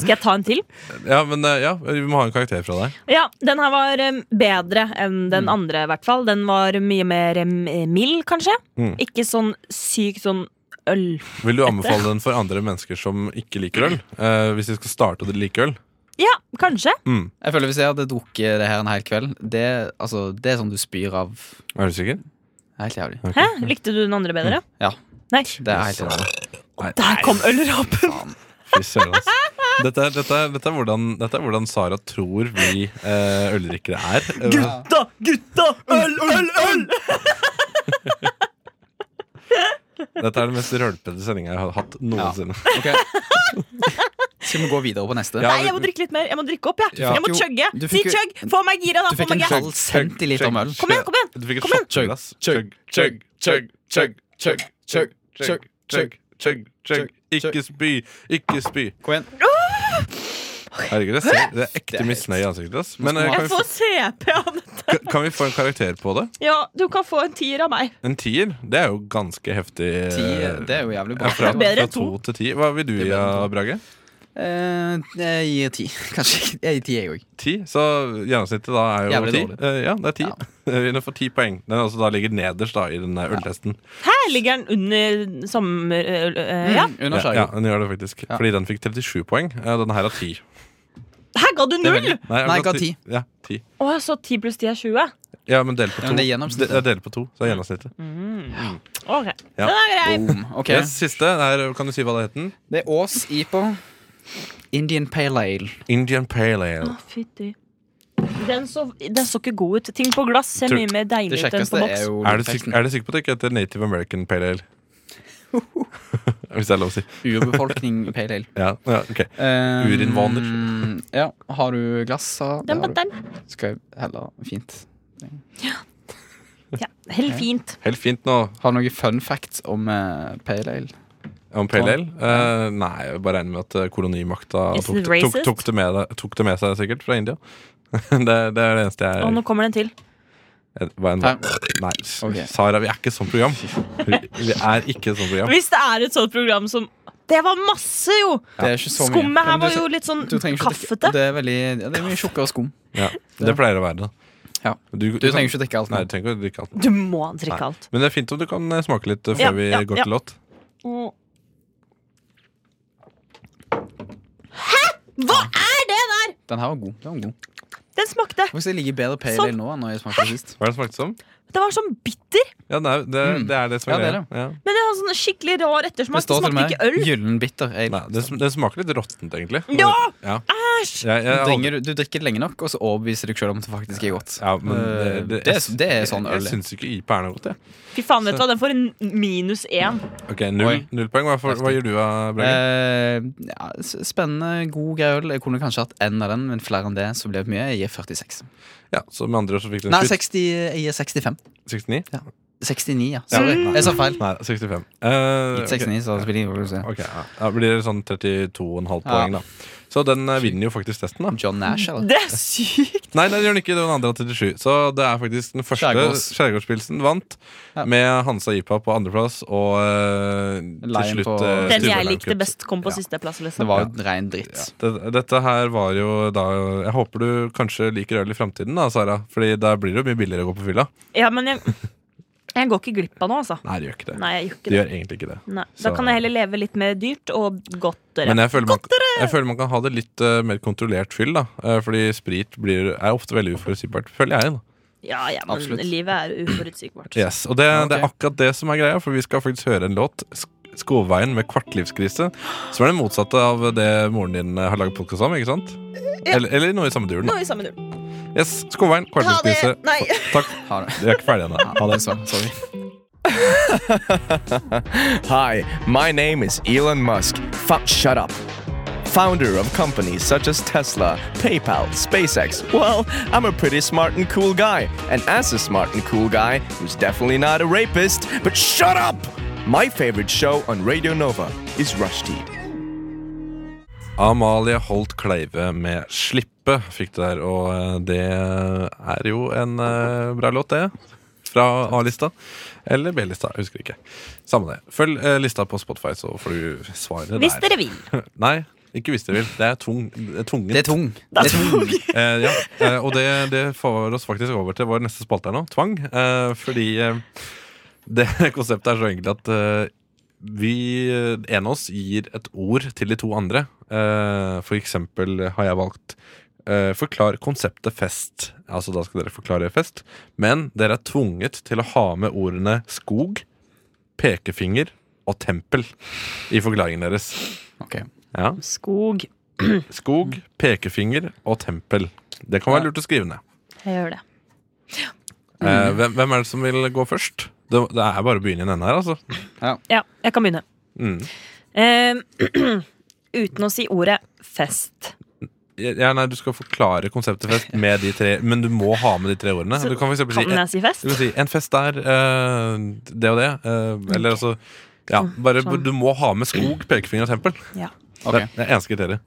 Skal jeg ta en til? Ja, men eh, ja, vi må ha en karakter fra deg. Ja, den her var em, bedre enn den andre, i hvert fall. Den var mye mer em, mild, kanskje. Mm. Ikke sånn sykt sånn øl. Vil du anbefale den for andre mennesker som ikke liker øl? Eh, hvis de skal starte å like øl? Ja, kanskje. Mm. Jeg føler Hvis jeg hadde drukket det her en hel kveld Det, altså, det er sånn du spyr av Er du sikker? Helt jævlig. Hæ? Likte du den andre bedre? Ja, Nei. det er helt jævlig. Der kom ølrapen! Fy søren, altså. Dette, er- dette, er- dette, er hvordan- dette er hvordan Sara tror vi eh, øldrikkere er. Eh, Gutta! Gutta! Øl, øl, øl! Dette er den mest rølpete sendinga jeg har hatt noensinne. Ok. (laughs) Skal vi gå videre på neste? Ja, Nei, jeg må drikke litt mer. Jeg må drikke opp, jeg. Ja. Jeg må Du fikk chugge. jo- du Si fikk jo- chugg! Få meg gira, da. Du Få fikk en meg gira. halv centiliter med øl. Kom igjen, kom igjen! Du fikk et Kom igjen. shotglass. Chug, chug, chug, chug, chug, chug, chug, chug, chug, chug. Ikke spy, ikke spy. Kom igjen. Herregud, jeg ser, det er ekte misnøye i ansiktet. ass. Men eh, kan Jeg vi, får CP av dette. få- kan vi få en karakter på det? Ja, du kan få en tier av meg. En tier? Det er jo ganske heftig. eh, Ti, det er jo jævlig ja, bra. fra, Bedre fra enn to to. til ti. Hva vil du gi, ja, Brage? Eh, jeg gir ti. (laughs) Kanskje jeg gir ti, jeg òg. Ti? Så gjennomsnittet da er jo Jævlig ti. dårlig. Eh, Ja, det er (laughs) ti. Hun får ti poeng. Den er også da ligger nederst da i den eh, øltesten. Her ligger den under sommer... øl- øl- øl- ja. Mm, Under Ja, skjæringen. den gjør det faktisk. Ja. Fordi den fikk 37 poeng. Eh, Denne her har 10. Her ga du Det er null! veldig- Nei, Nei, ga jeg ga ti. Ja, ti. Å, så 10 pluss 10 er 20? ja, men del på Ja, to. men det er gjennomsnittet. De- ja, del på to, så er gjennomsnittet. Ok, Ja. Den er grei. Boom. Ok. Yes, siste er, Kan du si hva det het? den? Det er Ås IPO. Indian Pale Ale. Indian Pale Ale. Å, fytti. Den så, den så ikke god ut. Ting på glass ser Tror- mye mer deilig ut Det enn på kjekkeste boks. er jo Er du, sikker, er du sikker på at det ikke heter Native American Pale (laughs) Ale? Hvis det er lov å si. urbefolkning Pale Ale. Ja, ja ok Um, Urinnvåner. Ja. Har du glass, så Den på har du. den. Skal jeg heller Fint. Ja, Helt fint. Helt fint nå Har du noen fun facts om eh, Pale Ale? om Pale Ale. Eh, nei, jeg bare regner med at eh, kolonimakta Is tok, det- it tok, racist? tok, det med, deg- tok det med seg sikkert fra India. (laughs) det, det er det eneste jeg Og nå kommer den til. jeg- hva enn- Her. Nei, s- Ok. Sara, vi er ikke et sånt program. Vi, vi er ikke et sånt program. Hvis det er et sånt program som Det var masse, jo! Det er ikke så mye. Skummet her Men du var tre- jo litt sånn du trenger ikke å drikke- kaffete. Det er, veldig, ja, det er mye tjukkere skum. Ja, det pleier å være det. Ja. Du, Du trenger ikke å drikke alt. Nei, du nå. trenger ikke å drikke alt. Du må drikke alt. Men det er fint om du kan eh, smake litt eh, før Ja, vi ja, går ja. til låt. Åh. Hæ?! Hva er det der?! Den her var god. Den var god. Den smakte Faktisk, jeg liker bedre Pale Sånn. Ale nå enn når jeg smakte sist. Hva er det smakte som? Det var sånn bitter, Ja, det er det, Mm. det, er det som er Ja, det er greia. Ja. men det var sånn skikkelig rar Det ettersmak. Det står til smakte meg ikke øl. gyllen bitter ale. Nei, det, sm- det smaker litt råttent, egentlig. Ja! Æsj! Jeg, jeg, Du, har aldri- dringer, du drikker det lenge nok, og så overbeviser du deg selv om at det faktisk er godt. ja, men det, Eh, det er- det er sånn Jeg, øl er. jeg syns ikke IPA er noe godt, jeg. Fy faen, vet du hva, den får en minus én. Ok, null, Oi. null poeng. Hva, for, hva gjør du, eh, Brage? Eh, ja, s- spennende, god greiøl. Jeg kunne kanskje hatt én av den, men flere enn det så blir det mye. Jeg gir 46. ja, så med andre ord så fikk du en Nei, slutt. 60, jeg gir 65. 69? 69, ja. Sorry, jeg sa feil. Nei, 65. Eh, Gitt 69, så spiller ingen rolle. ok, ja. Da blir det sånn 32,5 Ja. poeng, da. Så den eh, vinner jo faktisk testen, da. John Nash, eller? Det er sykt! Nei, nei, det gjør den ikke. Det var den andre av 37. Så det er faktisk den første Skjærgårds. Skjærgårdspilsen vant. Ja. Med Hansa Ipa på andreplass og eh, Lion til slutt på- eh, Den Sturla jeg Lion likte Cup. best, kom på Ja. sisteplass. Det Liksom. var jo ren dritt. Det, dette her var jo da Jeg håper du kanskje liker øl i framtiden, da, Sara. Fordi da blir det jo mye billigere å gå på fylla. Ja, men jeg, jeg går ikke glipp av noe, altså. Nei, det gjør ikke det. Nei, jeg gjør Det ikke det. gjør egentlig ikke det. Nei. så- Da kan jeg heller leve litt mer dyrt og godtere. Men eh, jeg føler, man, jeg føler man kan ha det litt eh, mer kontrollert fyll, da. Eh, fordi sprit blir, er ofte veldig uforutsigbart, føler jeg. da Ja, ja, men Absolutt. livet er uforutsigbart. Yes, og det, Ja, ok. det er akkurat det som er greia, for vi skal faktisk høre en låt. Sk- Skogveien med kvartlivskrise. Som er det motsatte av det moren din eh, har laget podkast om, ikke sant? Eller, eller noe i samme duren. da. Nå er vi sammen, du. Yes, Skogveien, kvartlivskrise. Nei. Takk. Ha det. Vi er ikke ferdige ennå. Ha det. så- Sorry. Hi, my name is Elon Musk. Fuck, shut up. Founder of companies such as Tesla, PayPal, SpaceX. Well, I'm a pretty smart and cool guy. And as a smart and cool guy, who's definitely not a rapist, but shut up! My favorite show on Radio Nova is Rushdie. Amalie Holt Kleive med 'Slippe' fikk du der, og eh, det er jo en eh, bra låt, det. Fra A-lista. Eller B-lista, jeg husker ikke. Samme det. Følg eh, lista på Spotify, så får du svaret der. Hvis dere vil. (laughs) Nei, ikke hvis dere vil. Det er tvung, det er tvungent. Det er tung. Det er tung. Eh, ja. eh, og det, det får oss faktisk over til vår neste spalte her nå, tvang. Eh, fordi eh, det (laughs) konseptet er så enkelt at eh, vi, eh, en av oss gir et ord til de to andre. Eh, for eksempel har jeg valgt eh, Forklar konseptet fest. Altså da skal dere forklare fest. Men dere er tvunget til å ha med ordene skog, pekefinger og tempel i forklaringen deres. Ok. Ja. Skog. Skog, pekefinger og tempel. Det kan være lurt å skrive ned. Jeg gjør det. Eh, hvem, hvem er det som vil gå først? Det, det er bare å begynne i en ende her, altså. Ja, jeg kan begynne. Mm. Eh, (clears throat) uten å si ordet fest. Ja, nei, du skal forklare konseptet fest med de tre, men du må ha med de tre ordene. Så Du kan for eksempel si, Kan en, jeg si fest? du kan si 'en fest der', eh, det og det. eh, eller altså Ja, bare Sånn. du må ha med skog, pekefinger og tempel. Ok. Det, det er eneste kriteriet.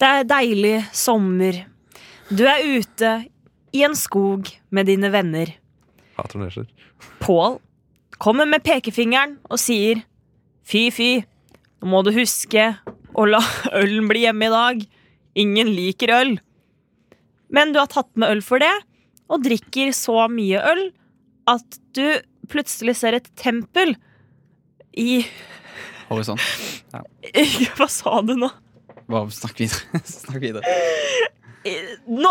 Det er deilig sommer. Du er ute i en skog med dine venner. Hater når det skjer. Pål kommer med pekefingeren og sier Fy, fy, nå må du huske å la (laughs) ølen bli hjemme i dag. Ingen liker øl. Men du har tatt med øl for det, og drikker så mye øl at du plutselig ser et tempel i (laughs) Horisont. Hva sa du nå? Bare snakk videre. (laughs) snakk videre. Eh, Nå,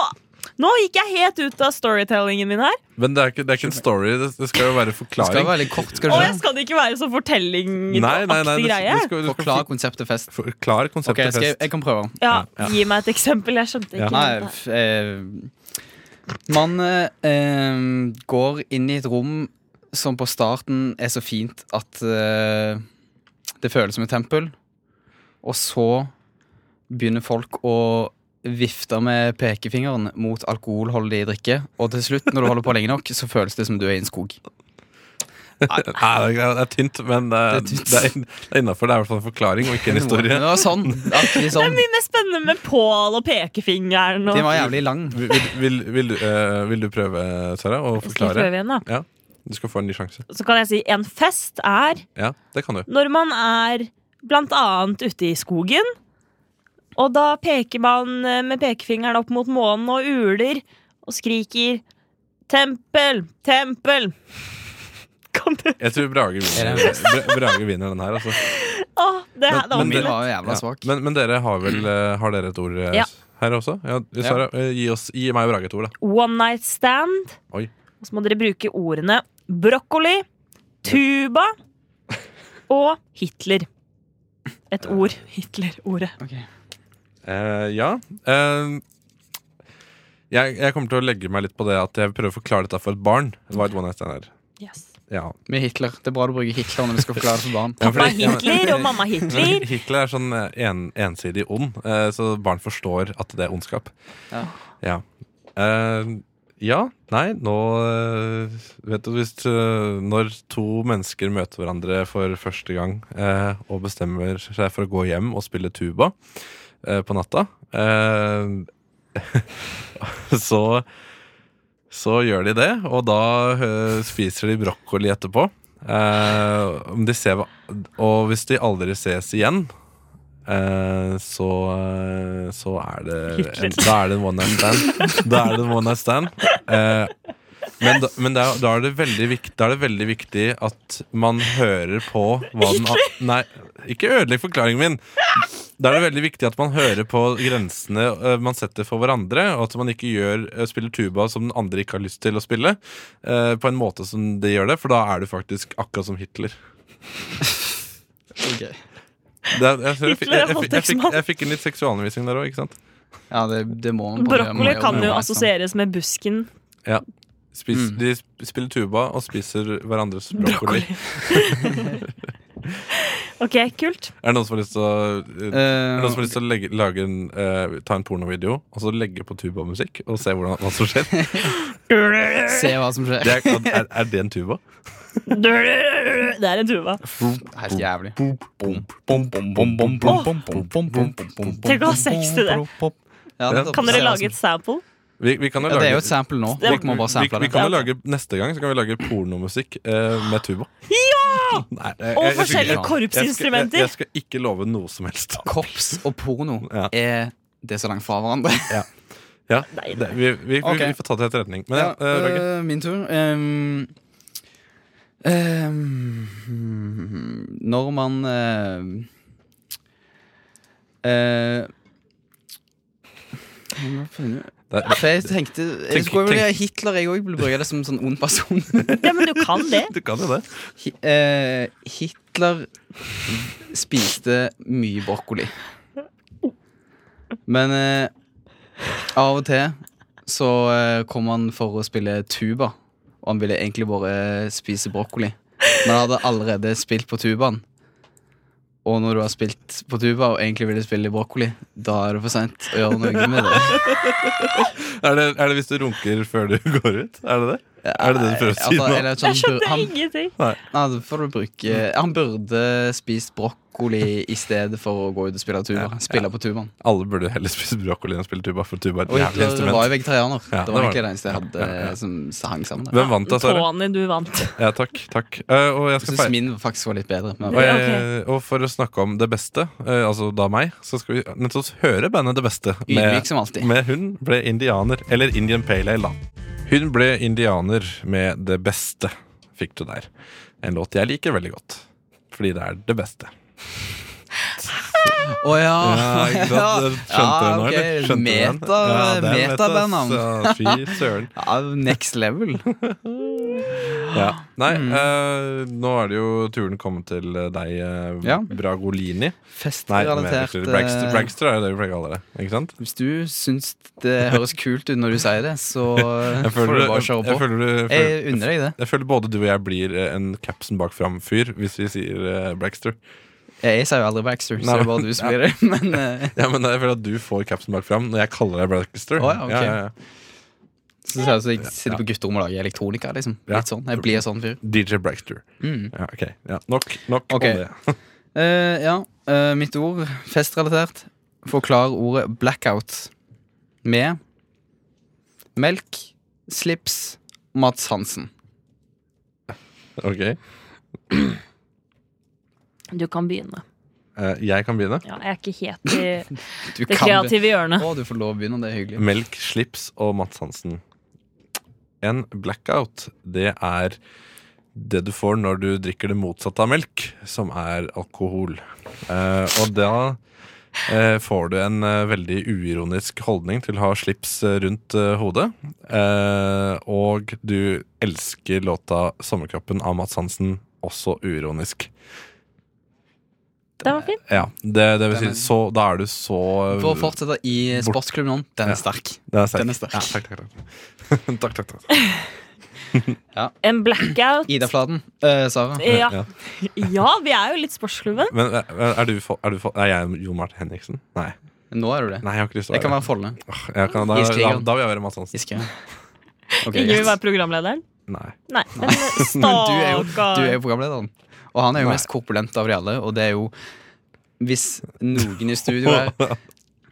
nå gikk jeg helt ut av storytellingen min her. Men det er ikke, det er ikke en story. Det, det skal jo være Det skal forklaring. være litt kort, skal Og du jeg ikke? skal det ikke være sånn Nei, fortellingaktig nei, nei. Du, greie. du skal, du skal Forklar konseptet fest. forklare Ok, konseptet jeg, skal, fest. jeg kan prøve. Ja, Gi meg et eksempel. Jeg skjønte ikke. Nei, dette. f- eh, man eh, går inn i et rom som på starten er så fint at eh, det føles som et tempel. Og så begynner folk å vifte med pekefingeren mot alkoholholdig drikke. Og til slutt, når du holder på lenge nok, så føles det som du er i en skog. Nei, det er, det er tynt, men det, Det er tynt. det er, inn- det er innafor. Det er i hvert fall en forklaring og ikke (laughs) en historie. Det var sånn. Akkurat Det er sånn. mye mer spennende med Pål og pekefingeren. Og... Den var jævlig lang. Vil, vil, vil, du, eh, vil du prøve, Sara, å Skal jeg forklare? prøve igjen, da? Ja, Du skal få en ny sjanse. Så kan jeg si en fest er Ja, det kan du. når man er blant annet ute i skogen. Og da peker man eh, med pekefingeren opp mot månen og uler og skriker 'Tempel! Tempel!' Kan du Jeg tror Brage vinner, Er det- Bra- Brage vinner den her, altså. Å, det, her- det var Men Den mye. var jævla Ja. svak. Men, men dere har vel eh, Har dere et ord eh, Ja. her også? Ja, Sara, eh, gi, oss, gi meg og Brage et ord, da. One night stand. Oi. Og så må dere bruke ordene brokkoli, tuba og Hitler. Et ord. Hitler-ordet. Eh, ja. Eh, jeg, jeg kommer til å legge meg litt på det at jeg prøver å forklare dette for et barn. Hva er et one night stand her? Yes. Ja. Med Hitler. Det er bra du bruker Hitler når vi skal forklare det for barn. Ja, Pappa fordi- ja, men- Hitler og mamma Men Hitler. (laughs) Hitler er sånn eh, en, ensidig ond, eh, så barn forstår at det er ondskap. Ja. Ja. Eh, ja, nei, nå eh, Vet du hvis eh, Når to mennesker møter hverandre for første gang eh, og bestemmer seg for å gå hjem og spille tuba eh, på natta, eh, (laughs) så så gjør de det, og da eh, spiser de brokkoli etterpå. Eh, om de ser, hva- og hvis de aldri ses igjen, eh, så, eh, så er det en, Da er det en one night stand. Da er det en one night stand. Eh, men da, men da, da, er det veldig viktig, da er det veldig viktig at man hører på hva den an- Nei, ikke ødelegg forklaringen min. Da er det veldig viktig at man hører på grensene eh, man setter for hverandre, og at man ikke gjør, eh, spiller tuba som den andre ikke har lyst til å spille, eh, på en måte som de gjør det, for da er du faktisk akkurat som Hitler. Ok. Det, er- jeg, tror jeg, fikk- jeg, jeg, Hitler er jeg, fikk- voldtektsmann. jeg fikk inn litt seksualundervisning der òg, ikke sant? Ja, det, det må man bare gjøre. Man må Brokkoli gjøre kan jo det med barn, sant? assosieres med busken. Spis, Mm. De sp- spiller tuba og spiser hverandres brokkoli. (laughs) Ok, kult. Er det noen som har lyst til å eh, er det noen som har Eh, lyst til å legge, lage en, eh, ta en pornovideo og så legge på tubamusikk og se hvordan, hva som skjer? se hva som skjer. Det (laughs) er, er, er det en tuba? Det er en tuba. Helt jævlig. Tenk å ha sex til det. Ja, det er Kan dere se hva lage som- et sample? Vi, vi kan jo ja, Det er jo lage et sample nå. Det- Folk må bare sample vi, vi det. kan jo lage Neste gang så kan vi lage pornomusikk eh, med tuba. Ja! Nei, jeg- jeg- jeg skal Og ikke- forskjellige jeg- korpsinstrumenter. Jeg, skal- jeg, jeg skal ikke love noe som helst. Korps og porno (laughs) Ja. er det er så langt fra hverandre. Ja, det, vi, vi, vi, Ok. vi får ta til etterretning. Men (laughs) ja, eh, Børge, øh, min tur. Ehm, ehm, når man ehm, eh, jeg må finne- det er- For jeg tenkte Jeg Tenk- skulle tenk- vel Hitler, jeg òg, burde bruke det som en sånn ond person. (laughs) Ja, men du kan det. (laughs) du kan jo det. Hi- eh, Hitler spiste mye brokkoli. Men eh, av og til så eh, kom han for å spille tuba, og han ville egentlig bare spise brokkoli. Men han hadde allerede spilt på tubaen. Og når du har spilt på tuba og egentlig ville spille brokkoli, da er det for seint å gjøre noe med det. Er, det. er det hvis du runker før du (laughs) går ut? Er det det? Er det det du prøver å si Altså, nå? eller at Jeg han bur- skjønte han, ingenting. Nei, det får du bruke Mm. Han burde spist brokkoli i stedet for å gå ut og spille tuba. Ja, Spille på tubaen. Alle burde heller spise brokkoli enn spille tuba, for tuba er et Og jævlig Hitler var jo instrument. vegetarianer. Ja, det det var var egentlig det. det eneste jeg hadde Ja, ja, ja. som hang sammen. der. Hvem vant da, Sara? Tony, du vant. Ja, takk. takk. Eh, og jeg Jeg skal syns feire. min faktisk var litt bedre. Men Og, Ja, jeg, og for å snakke om det beste, eh, altså da meg, så skal vi nettopp høre bandet Det Beste. ydmyk som alltid. med Hun ble indianer, eller Indian Pale Ale, da. Hun ble indianer med Det Beste, fikk du der. En låt jeg liker veldig godt, fordi det er det beste. Å Ah, (laughs) ja. Ah, Ja, ikke sant? Skjønte du den nå, ok. eller? Skjønte du den? Meta, Ja, det er meta, Metaband. han. ass. Ja, fy (gasps) søren. Ja, (laughs) next level. Ja. Nei, Mm. eh, nå er det jo turen kommet til eh, deg, eh, Ja. Bragolini. Nei, Festrelatert. Bragster. eh, Bragster, Bragster er jo det vi pleier å kalle det. Ikke sant? Hvis du syns det høres kult ut når du sier det, så (laughs) Jeg får føler, du bare jeg, kjøre jeg på. føler, du- Jeg føler- unner deg det. jeg føler både du og jeg blir eh, en capsen bak fram-fyr hvis vi sier eh, Bragster. Jeg sier jo aldri Baxter, så Nei. det er bare du som blir det. (laughs) Men eh, (laughs) Ja, men jeg føler at du får capsen bak fram når jeg kaller deg Bragster. Å, ja, ok. ja, ja, ja. så ser jeg ut som jeg sitter på gutterommet og lager elektronika, liksom. Ja. Litt sånn. Jeg blir sånn fyr. DJ Bragster. Mm. Ja, ok. Ja, nok nok Ok. om det. Eh, ja, eh, mitt ord, festrelatert, forklar ordet blackout med melk, slips, Mats Hansen. Ok, Du kan begynne. Eh, Jeg kan begynne. Ja, jeg er ikke (laughs) helt i det Du kan be- kreative hjørnet. Å, du får lov å begynne, det er hyggelig. Melk, slips og Mats Hansen. En blackout, det er det du får når du drikker det motsatte av melk, som er alkohol. Eh, og da eh, får du en eh, veldig uironisk holdning til å ha slips eh, rundt eh, hodet. Eh, og du elsker låta 'Sommerkroppen' av Mats Hansen, også uironisk. Det var fint. Ja, det, det vil Den er- si, så, da er du så For å fortsette i Bort- sportsklubben nå, den er sterk. Den er sterk. Den er sterk. Ja, takk, takk, takk. (laughs) takk, takk, takk. En blackout. Ida Fladen. eh, Sara. Ja. Ja. ja, vi er jo litt sportsklubben. Men eh, er du, for, er du for, Er jeg Jon Martin Henriksen? Nei. Nå er du det. Nei, jeg har ikke lyst til Jeg å kan være være Folle. Åh, jeg kan, da, da, Iskrigeren. da vil jeg være Mads Hansen. Giske. Ok, Ingen vil greit. være programlederen. Nei. (laughs) Nei, men Men du er, jo, du er stakkar. jo programlederen. Og han er jo Nei. mest korpulent av de alle, og det er jo Hvis noen i studio (laughs) er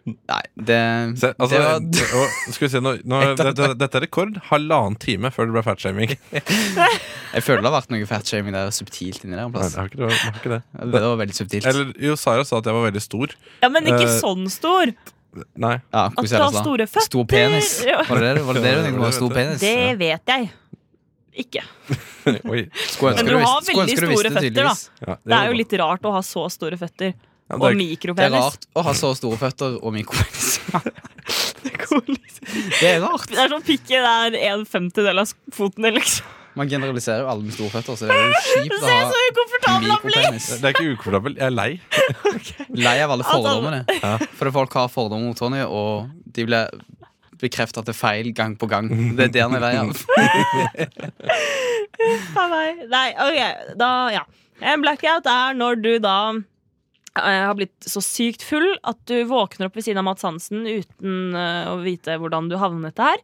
Nei, det, (laughs) Se, altså, det var å, skal vi se, nå, (laughs) nå, dette, dette er rekord. Halvannen time før det ble fatshaming. Nei, Jeg føler det har vært noe fatshaming der subtilt inni der. en det Plass. har ikke det. det Har ikke det. Det var veldig subtilt. Eller jo, Sara sa at jeg var veldig stor. Ja, men ikke Eh, sånn stor. Nei. (laughs) ja, At du hvordan er det har sånn? store føtter. Stor penis. (laughs) Ja. Var det det du- var det det du tenkte på? Stor penis? Det Ja. vet jeg ikke. Oi. Skulle ønske Men du visste- har veldig skulle ønske du visste store føtter, da. tydeligvis. Ja, Det er jo litt rart å ha så store føtter. ja, det Og er, Det er mikropenis. rart å ha så store føtter og mikropenis. (laughs) Det er rart. (laughs) Det er (laughs) rart. Det er sånn pikke der en femtedel av foten er, liksom. Man generaliserer jo alle med store føtter, så det er jo kjipt å Se så ha ukomfortabel han blir! mikropenis. det er ikke ukomfortabel. Jeg er lei. Lei av alle Altså, At alle- fordommene. Fordi folk har fordommer mot Tonje, og de blir bekreftet at det er feil gang på gang. Det er det han er lei (laughs) av. (laughs) Faen meg. Nei, ok, da, ja. En blackout er når du da eh, har blitt så sykt full at du våkner opp ved siden av Mads Hansen uten eh, å vite hvordan du havnet der.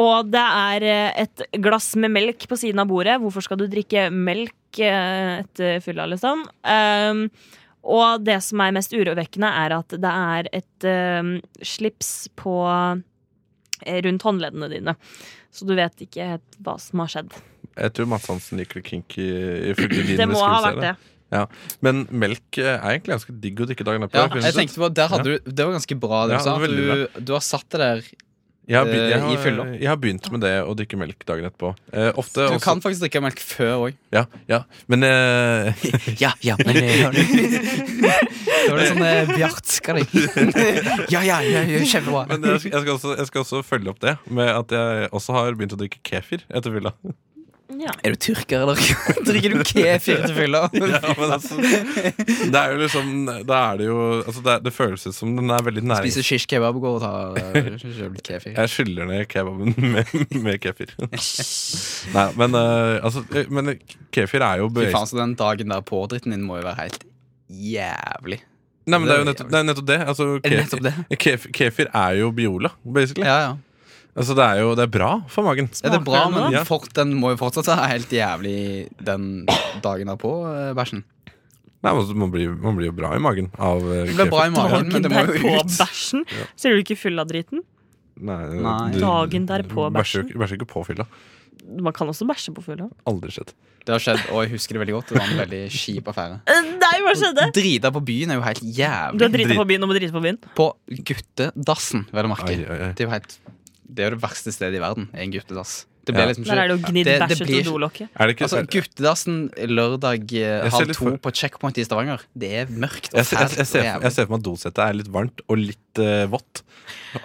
Og det er eh, et glass med melk på siden av bordet. Hvorfor skal du drikke melk eh, etter fylla, liksom? Um, og det som er mest urovekkende, er at det er et um, slips på eh, rundt håndleddene dine. Så du vet ikke helt hva som har skjedd. Jeg tror Mads Hansen liker det kinky. ifølge din Det må ha beskrivelse vært her, det. da. Ja. Men melk eh, er egentlig ganske digg å drikke dagen etter. Ja, finnes jeg det ut. tenkte på, der hadde du, Det var ganske bra. Det Ja, du, sa, det var veldig at du, du har satt det der. Jeg har, begynt, jeg, Eh, i fylla. har, jeg har begynt med det å drikke melk dagen etterpå. Eh, ofte Du også, kan faktisk drikke melk før òg. Ja, ja. Men (laughs) eh, Ja, ja, men eh, (laughs) Det var litt sånn eh, bjartskaling. (laughs) Ja, ja, ja, ja, kjempebra. men jeg, skal, jeg, skal også, jeg skal også følge opp det med at jeg også har begynt å drikke kefir etter fylla. (laughs) Ja. Er du tyrker, eller? (laughs) Drikker du kefir til fylla? (laughs) Ja, men altså, det er jo liksom Da er det jo altså det, er- det føles ut som den er veldig nærings... Spiser shish kebab og går og tar eh, kjøper litt kefir. Jeg skyller ned kebaben med, med (laughs) kefir. Nei, men, eh, altså, eh, men kefir er jo Fy bevis- faen, så den dagen der pådritten din må jo være helt jævlig. Nei, men det er jo nettopp det. Er nettopp det. Altså, Er det nettopp det? Kefir, kefir er jo Biola, basically. Ja, ja. Altså, det er jo det er bra for magen. Ja, det er bra, Smaker den men da? fort, den må jo fortsatt være helt jævlig den dagen derpå, eh, bæsjen. Nei, men altså, man, blir, man blir jo bra i magen av eh, Det ble bra i magen, Dagen men det må derpå jo ut. bæsjen. Ser du ikke full av driten? Nei, eh, Nei. Dagen derpå bæsjer jo bæsjen. ikke- Bæsjer ikke på fylla. Man kan også bæsje på fylla. Aldri skjedd. Det har skjedd, og jeg husker det veldig godt. Det var en veldig kjip affære. Eh, Nei, hva skjedde? Drita på byen er jo helt Du har jævlig. drita på byen og må drite på byen. På guttedassen, vel å merke. Ai, ai, ai. Det er jo helt det er jo det verste stedet i verden. er En guttedass. Det blir Ja. liksom Der er det jo gnidd Det- det bæsj ut blir- av dolokket. Er det ikke Altså, Guttedassen lørdag eh, Jeg ser halv litt to for- på checkpoint i Stavanger. Det er mørkt og jeg, ser- jeg, fælt jeg, ser, og jeg ser for meg at dosettet er litt varmt og litt eh, vått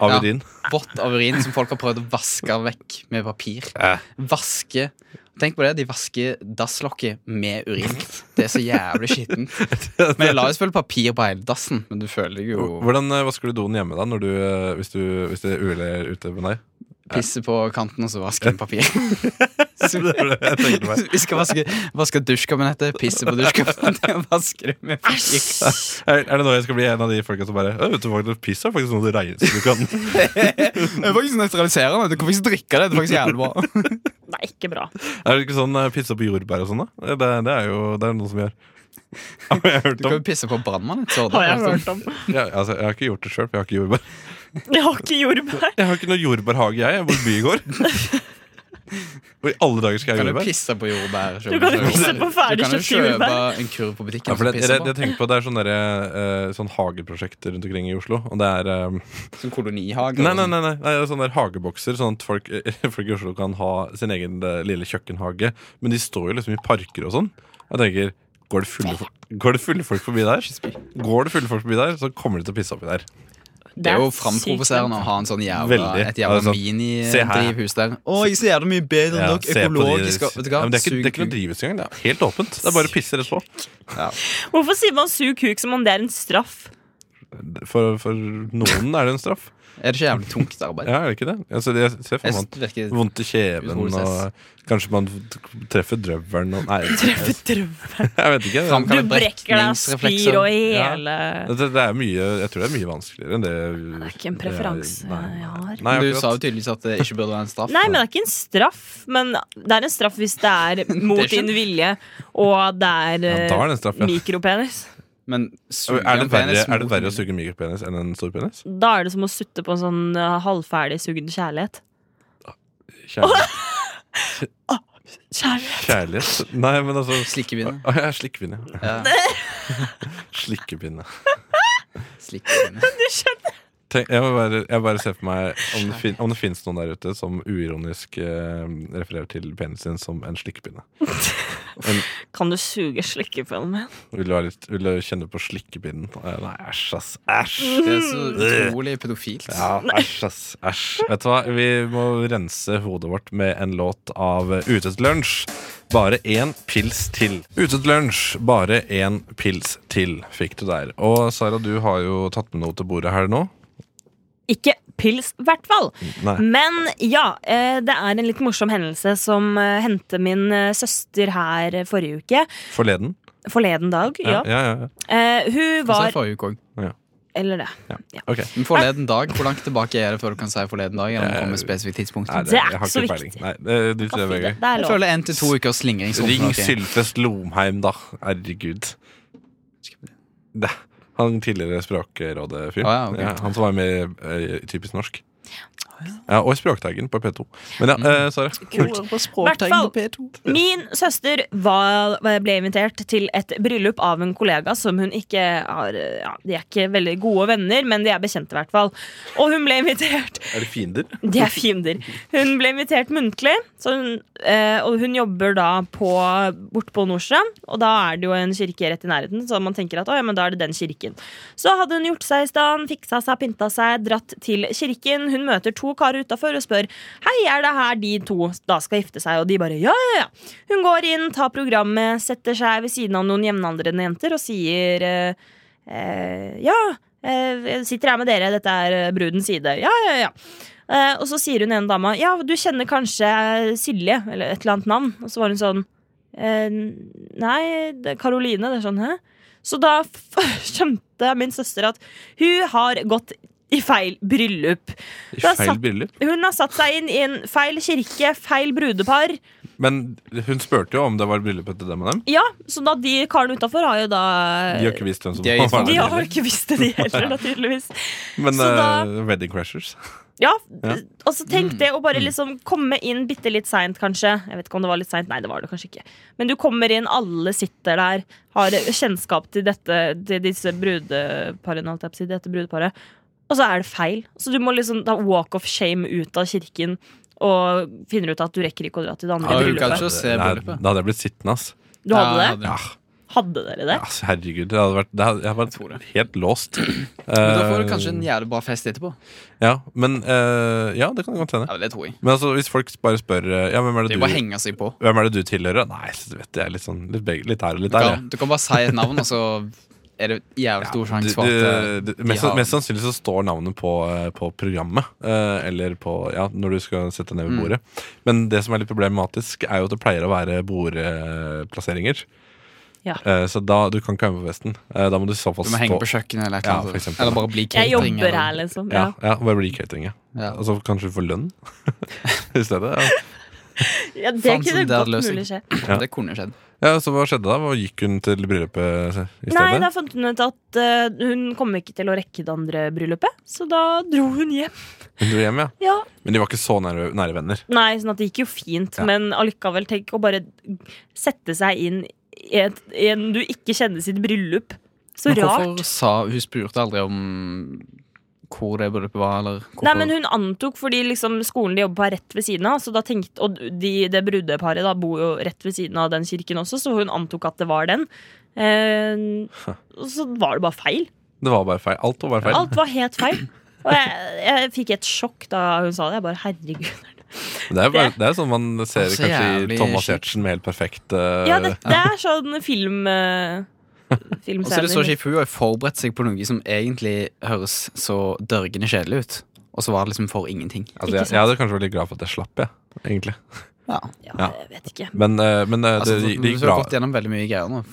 av Ja. urin. jævlig vått av urin som folk har prøvd å vaske vekk med papir. Eh. Vaske Tenk på det, de vasker dasslokket med urin. Det er så jævlig skittent. (laughs) Men jeg la jo selvfølgelig papir på hele dassen, men du føler deg jo (laughs) Hvordan eh, vasker du doen hjemme da når du, eh, hvis, du, hvis det er uhell er ute (laughs) med deg? Pisse på kanten og så vaske med papir. Det var det jeg tenkte meg. (laughs) Vi skal vaske, vaske dusjkabinettet, pisse på dusjkabinettet og vaske det med papir. (laughs) Er, er det nå jeg skal bli en av de folka som bare «Å, Vet du hva, det piss er faktisk noe det regner som du (laughs) kan Det er faktisk nøytraliserende. Du kan faktisk drikke det. Det er faktisk jævlig bra. Det er ikke bra. Er det ikke sånn eh, pisse på jordbær og sånn, da? Det, det er jo det er noe som (laughs) gjør. Har jeg hørt Du kan om? jo pisse på brannmannen. så det. Har jeg hørt om. Ja, altså, jeg har ikke gjort det sjøl, for jeg har ikke jordbær. Jeg har ikke jordbær. Jeg har ikke noe jordbærhage, jeg. Jeg bor i by i går. (laughs) Hvor i alle dager skal jeg ha Kan du jordbær? pisse på jordbær? selv? Du kan jo pisse på Du kan jo ferdigkjøpt kjøpe jordbær. en kurv på butikken Ja, for og det, jeg, pisse jeg tenker på at Det er sånne der, eh, sånn hageprosjekt rundt omkring i Oslo. Og det er eh, (laughs) på. Som kolonihage. sånn. Nei, nei, nei, nei, nei det er sånne der hagebokser, sånn at folk, (laughs) folk i Oslo kan ha sin egen eh, lille kjøkkenhage. Men de står jo liksom i parker og sånn. Jeg tenker Går det, fulle, fo- går det fulle folk forbi der, Går det fulle folk forbi der, så kommer de til å pisse oppi der. Det er jo framprovoserende å ha en sånn jævla, Veldig. et Ja, jævla sånn, se her. minidrivhus der. Å, jeg ser jævlig mye bedre enn Ja, dere. se på de- Sånn Økologisk. og- Vet du hva? Ja, men det, er ikke, det er Sug ikke noe kuk. drivhus engang. Det er helt åpent. Det er bare å pisse rett på. Hvorfor sier man 'sug kuk' som om det er en straff? For, for noen er det en straff. Er det ikke jævlig tungt arbeid? Ja, er det ikke det? Altså, jeg ser for Jeg meg synes at- det virker Vondt i kjeven Utrolig stress. og Kanskje man t- treffer drøvelen (laughs) og Nei, Treffe jeg, drømme. jeg vet ikke. Framkall- Du Kaller brekker deg og brekningsreflekser. spyr og hele Det, det er mye, jeg tror det er mye vanskeligere enn det Det er ikke en preferanse jeg har. Nei, Du akkurat. sa jo tydeligvis at det ikke burde være en straff. Nei, men det er ikke en straff. Men det er en straff hvis det er mot (laughs) Det er din vilje, og det er, Ja, eh, da er det en straff, ja. mikropenis. Men suge er det, en penis verre, er det mot- verre å suge mikropenis enn en stor penis? Da er det som å sutte på en sånn eh, halvferdig sugd kjærlighet. Kjærlighet. Kjærlighet. Kjærlighet. Nei, men altså Slikkepinne. Å, ja, Slikkepinne. ja. Ja, Slikkepinne. slikkepinne. Tenk, jeg, må bare, jeg bare ser for meg om det, fin, om det finnes noen der ute som uironisk eh, refererer til penisen sin som en slikkepinne. Kan du suge slikkepinnen min? Vil du, ha litt, vil du kjenne på slikkepinnen? Eh, Nei, æsj, ass. (laughs) Æsj. Det er så utrolig pedofilt. Ja, æsj, ass. Æsj. Vet du hva, vi må rense hodet vårt med en låt av Utet lunsj. Bare én pils til. Utet lunsj, bare én pils til, fikk du der. Og Sara, du har jo tatt med noe til bordet her nå. Ikke pils, i hvert fall. Nei. Men ja, eh, det er en litt morsom hendelse som eh, hendte min eh, søster her eh, forrige uke. Forleden. Forleden dag, ja. ja, ja, ja. Eh, Hun Hva sa jeg var forrige uke òg? Eller det. Ok. Men Forleden dag, hvor langt tilbake er det før du kan si forleden dag? Eller om det kommer et spesifikt tidspunkt Eh, Nei, Det er jeg har ikke så peiling. Nei, eh, det, det, det, Kaffe, det, det er Jeg lov. føler en til to ukers slingringsrom. Ring for noe. Sylfest Lomheim, da. Herregud. Det. Han tidligere Språkrådet-fyren. Ah, ja, ok. ja, han som var med i eh, Typisk norsk. Ja, og Språkteigen på P2. Men Mm. ja, eh, Sara. Hvert fall, Min søster var, ble invitert til et bryllup av en kollega som hun ikke har eh, ja, De er ikke veldig gode venner, men de er bekjente, i hvert fall. Og hun ble invitert Er det fiender? De er fiender. Hun ble invitert muntlig, så hun, eh, og hun jobber da på, bort på Nordstrand. Og da er det jo en kirke rett i nærheten, så man tenker at å, ja, men da er det den kirken. Så hadde hun gjort seg i stand, fiksa seg, pynta seg, dratt til kirken. Hun møter to karer utafor og spør hei, er det her de to da skal gifte seg. Og de bare ja, ja, ja. Hun går inn, tar programmet, setter seg ved siden av noen jevnaldrende jenter og sier eh, eh, ja, eh, jeg sitter her med dere, dette er eh, brudens side. Ja, ja, ja. Eh, og så sier hun ene dama Ja, du kjenner kanskje eh, Silje, eller et eller annet navn. Og så var hun sånn eh, Nei, det er Karoline. Det er sånn, hæ? Så da f (laughs) skjønte min søster at hun har gått i feil bryllup. I Da feil satt- bryllup. Hun har satt seg inn i en feil kirke, feil brudepar. Men hun spurte jo om det var bryllupet til dem og dem. Ja, Så da de karene utafor har jo da De har ikke visst hvem som De har gitt var De der. har ikke visst det, de heller, da, tydeligvis. Men Så da- eh, Wedding Crashers. Ja, Ja. og så Mm. tenk det å bare liksom komme inn bitte litt seint, kanskje. Jeg vet ikke om det var litt seint. Nei, det var det kanskje ikke. Men du kommer inn, alle sitter der, har kjennskap til dette Til disse brudeparene, holdt jeg på å si. Dette brudeparet. Og så er det feil. Så du må liksom ta walk of shame ut av kirken. og finner ut at du rekker ikke å dra til det andre Ja, hun kan bryllupet. ikke se Nei, bryllupet. Da hadde jeg blitt sittende, ass. Du hadde det? Ja, Hadde dere det? Altså, herregud, det hadde vært, det hadde, jeg hadde vært helt låst. Men da får du kanskje en jævlig bra fest etterpå. Ja, men eh, Ja, det kan godt hende. Ja, Det tror jeg. Men altså, hvis folk bare spør eh, Ja, hvem er Det det er bare å du henge seg på. hvem er det du tilhører? Nei, så vet jeg, litt sånn Litt, begge, litt her og litt Du der. kan, du kan bare si et navn, og så er det jævlig stor Ja. Du, sjanse for at du, eh, du, mest, de har- mest sannsynlig så står navnet på, eh, på programmet. eh, eller på Ja, når du skal sette ned ved Mm. bordet. Men det som er litt problematisk, er jo at det pleier å være bordplasseringer. Ja. Eh, så da du kan ikke være med på festen. Eh, da må du i så fall Du må henge på stå kjøkkenet eller et Ja, eller for annet. eksempel. eller bare bli Jeg catering. jobber her, eller- liksom. Ja. ja, ja, bare bli catering, ja. Ja. Og så kanskje du får lønn (laughs) i stedet. Ja. Ja, det Faen, så kunne det hadde godt løsning. mulig skje. Ja. Det kunne skjedd. Ja, så Hva skjedde da? Hva Gikk hun til bryllupet se- i Nei, da stedet? fant hun ut at eh, hun kom ikke til å rekke det andre bryllupet, så da dro hun hjem. Hun dro hjem, ja. Ja. Men de var ikke så nære, nære venner. Nei, sånn at det gikk jo fint, Ja. men allikevel, tenk å bare sette seg inn i, et, i en du ikke kjenner sitt bryllup. Så Men hvorfor rart. sa Hun spurte aldri om hvor det bryllupet var, eller hvorfor Nei, men Hun antok fordi liksom skolen de jobber på, er rett ved siden av. Så da tenkte, og de, det brudeparet da bor jo rett ved siden av den kirken også, så hun antok at det var den. Eh, og så var det bare feil. Det var bare feil. Alt var bare feil. Alt var helt feil. Og jeg, jeg fikk et sjokk da hun sa det. Jeg bare, herregud Det er, bare, det er sånn man ser Så kanskje i Altså, jævlig Thomas kjipt. Giertsen med helt perfekt eh, Ja, dette er sånn film (laughs) eh, Og så er det så Filmscene. kjipt, for hun har jo forberedt seg på noe som egentlig høres så dørgende kjedelig ut. Og så var det liksom for ingenting. altså, jeg, jeg hadde kanskje vært litt glad for at jeg slapp, jeg. Egentlig. Ja. Ja, Ja. jeg vet ikke. Men, eh, men eh, Altså, det, det, det gikk hun bra. har gått gjennom veldig mye greier nå.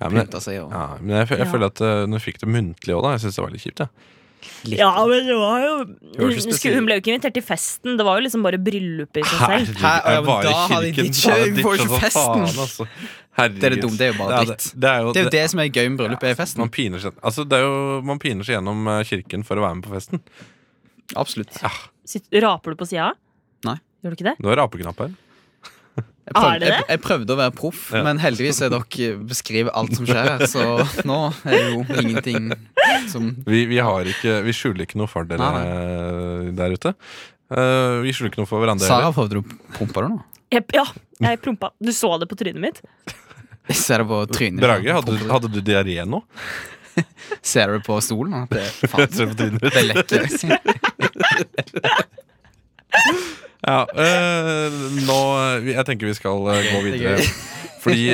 Ja, men, Pynta seg og ja, men jeg, jeg Ja. føler at eh, når hun fikk det muntlig òg, da, jeg syns det var litt kjipt. Ja. litt. Ja, men det var jo var hun, ikke skulle- hun ble jo ikke invitert til festen. Det var jo liksom bare bryllupet i seg selv. Herregud, Hæ? Å, ja, men da hadde de ditchet- faen, jeg vi får jo ditchet ikke som festen. altså. Herregud. Det er det dumme, det er jo bare det- dritt. Det er jo Det er jo det- det som er gøy med bryllup, er festen. Man piner, seg, altså det er jo, man piner seg gjennom eh, kirken for å være med på festen. Absolutt. Sitt- Raper du på sida? Nei. Gjør du ikke det? Du har rapeknapp her. Jeg prøvde, Er det det? Jeg, jeg prøvde å være proff, Ja. men heldigvis er dere beskriver alt som skjer her, så nå er det jo ingenting som Vi, vi, har ikke, vi skjuler ikke noe for dere Nei, eh, der ute. Eh, vi skjuler ikke noe for hverandre. Sara, heller. prøvde du å pumpe det nå? Jeg, ja, jeg prompa. Du så det på trynet mitt? Jeg ser det på trynet. Brage, hadde, du- hadde du diaré nå? Ser du på stolen? At det, Jeg faen, ser på trynet ditt. det (laughs) liksom. lekker. Ja, eh, nå, eh, vi- jeg tenker vi skal eh, gå det er videre. Fordi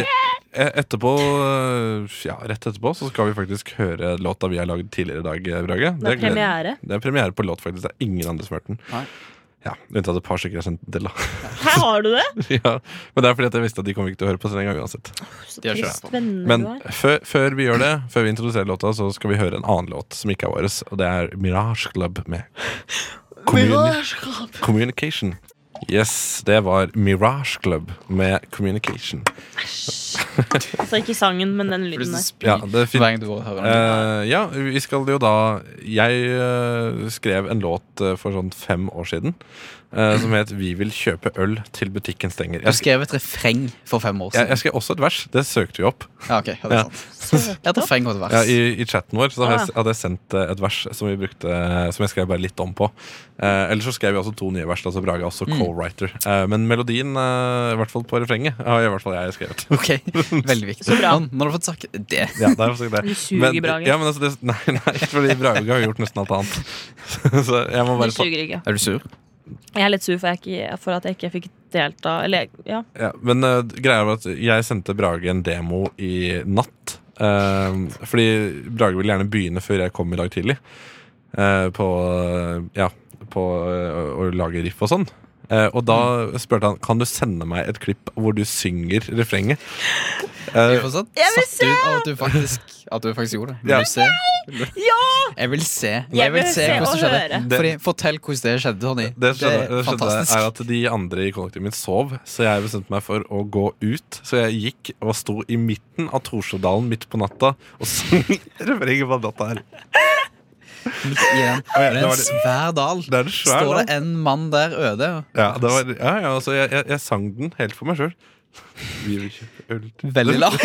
eh, etterpå, eh, ja, rett etterpå, så skal vi faktisk høre låta vi har lagd tidligere i dag, eh, Brage. Det er gleder- premiere. Det er premiere på låt, faktisk. Det er ingen andre som har hørt den. Nei. Ja, Unntatt et par stykker jeg har sendt til, da. (laughs) Her har du det! ja, men det er fordi at jeg visste at de kom ikke til å høre på sendinga uansett. Så Det gjør trist ikke venner Men du er. før, før vi gjør det, før vi introduserer låta, så skal vi høre en annen låt som ikke er vår, og det er Mirage Club (laughs) med Communi Communication. Yes, det var Mirage Club med Communication. Altså ikke sangen, men den lyden der. Ja, det er fint. Hver gang du hører den. Eh, ja, vi skal jo da Jeg eh, skrev en låt eh, for sånn fem år siden eh, som het 'Vi vil kjøpe øl til butikken stenger'. Du Jeg, skrev et refreng for fem år jeg, siden. jeg skrev også et vers. Det søkte vi opp. Ja, ok, ja, det er sant. Et refreng og et Ja, vers. i, I chatten vår så hadde, Ah. jeg, hadde jeg sendt eh, et vers som vi brukte Som jeg skrev bare litt om på. Eh, Eller så skrev jeg også to nye vers. Altså Braga er også Mm. co-writer. Eh, men melodien, eh, i hvert fall på refrenget, har i hvert fall jeg skrevet. Ok, veldig viktig. Nå nå har du fått sagt det. Ja, det er faktisk det. (laughs) Du suger, Men- Brage. Ja, men altså, det, (laughs) nei, nei, fordi Braga har gjort nesten alt annet. (laughs) Så jeg må Du bare ta, suger ikke. Er du sur? Eh, Jeg er litt sur for, jeg ikke, for at jeg ikke fikk delta. Eller ja. ja, Men eh, greia var at jeg sendte Brage en demo i natt. Eh, fordi Brage ville gjerne begynne før jeg kom i dag tidlig. eh, på eh, ja, på eh, å lage riff og sånn. Eh, og da spurte han Kan du sende meg et klipp hvor du synger refrenget. Er du Eh, fortsatt Jeg vil satt ut av at du faktisk, at du faktisk gjorde det? Vil Ja. du se? Ja! Jeg vil se. Jeg Jeg vil vil se se hvordan og det skjedde. høre. Fordi, fortell hvordan det skjedde, Tony. det skjedde, det er skjedde er fantastisk. at De andre i kollektivet mitt sov, så jeg bestemte meg for å gå ut. Så jeg gikk og sto i midten av Torsodalen midt på natta og sang (laughs) refrenget på natta her. Midt i den. Det er det var en det- svær dal. Det er en svær Står dal. det en mann der øde? Ja, det var, ja, ja altså, jeg, jeg, jeg sang den helt for meg sjøl. (laughs) Vi vil kjøpe øl til Veldig lavt.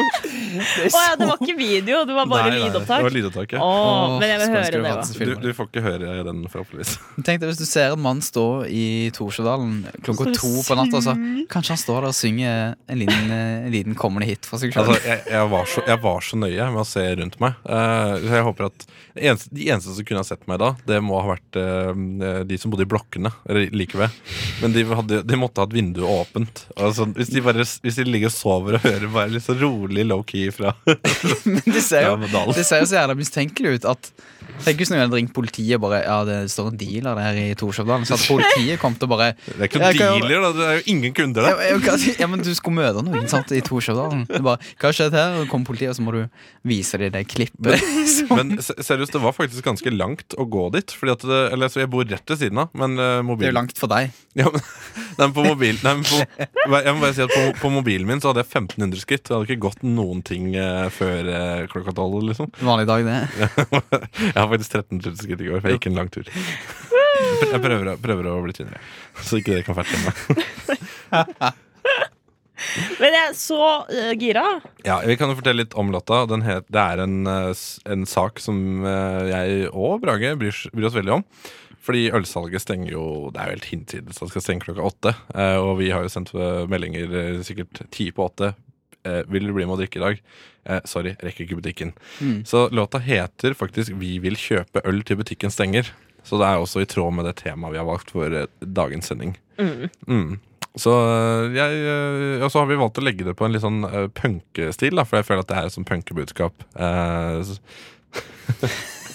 Å ja, det var ikke video, det var bare Nei, nei, Det lydopptak. var lydopptak, ja. Å, Åh, men jeg vil skulle høre ønske det, vi da. faktisk Du, filmet. du får ikke høre den, forhåpentligvis. (laughs) (laughs) Tenk deg hvis du ser en mann stå i Torsjødalen klokka Så to på natta, så kanskje han står der og synger en liten, en liten kommende hit for seg sjøl. Altså, jeg, jeg, var så, jeg var så nøye med å se rundt meg. Eh, så jeg håper at eneste, De eneste som kunne ha sett meg da, det må ha vært eh, de som bodde i blokkene. Eller like ved. Men de, hadde, de måtte ha hatt vinduet åpent. Altså, hvis, de bare, hvis de ligger og sover og hører bare litt så rolig low-key fra (laughs) Det ser jo Ja, men Dalen. det ser jo så jævla mistenkelig ut at Tenk hvis noen hadde ringt politiet og bare Ja, det står en dealer der i Torsjødalen. Så at politiet kom til å bare Det er ikke noen Jeg kan jo- dealer, da. Det er jo ingen kunder ja, der. ja, hva- ja, men du skulle møte noen sant, i (laughs) Torsjødalen. Det er bare, Hva har skjedd her? Og så kommer politiet, og så må du vise dem det klippet. (laughs) Men se- seriøst, det var faktisk ganske langt å gå dit. Fordi at det, eller, så jeg bor rett ved siden av, men eh, Det er jo mobilen langt for deg. (laughs) Ja, men, nei, men på mobil, nei, men på, jeg må bare si at på, på mobilen min så hadde jeg 1500 skritt. Det hadde ikke gått noen ting eh, før eh, klokka tolv. Liksom. Vanlig dag, det. (laughs) Jeg har faktisk 1300 skritt i går, for jeg gikk en lang tur. Jeg prøver, å- prøver å bli tynnere, så ikke dere kan ferte meg. Men jeg er så eh, gira. Ja, Vi kan jo fortelle litt om låta. Den het, det er en, eh, s- en sak som eh, jeg og Brage bryr, s- bryr oss veldig om. Fordi ølsalget stenger jo Det er jo helt hinsides. Det skal stenge klokka åtte. eh, Og vi har jo sendt eh, meldinger eh, sikkert ti på åtte. Eh, Vil du bli med og drikke i dag? Eh, Sorry, rekker ikke butikken. Mm. Så låta heter faktisk 'Vi vil kjøpe øl til butikken stenger'. Så det er også i tråd med det temaet vi har valgt for eh, dagens sending. Mm. Så øh, jeg, øh, og så har vi valgt å legge det på en litt sånn øh, punkestil, da, for jeg føler at det er et sånn punkebudskap. Eh, så- (laughs)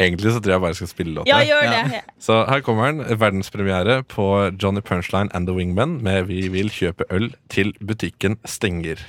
Egentlig så tror jeg bare jeg skal spille låta. Ja, gjør det. Så her kommer den. Verdenspremiere på Johnny Punchline and The Wingmen med 'Vi vil kjøpe øl til butikken stenger'.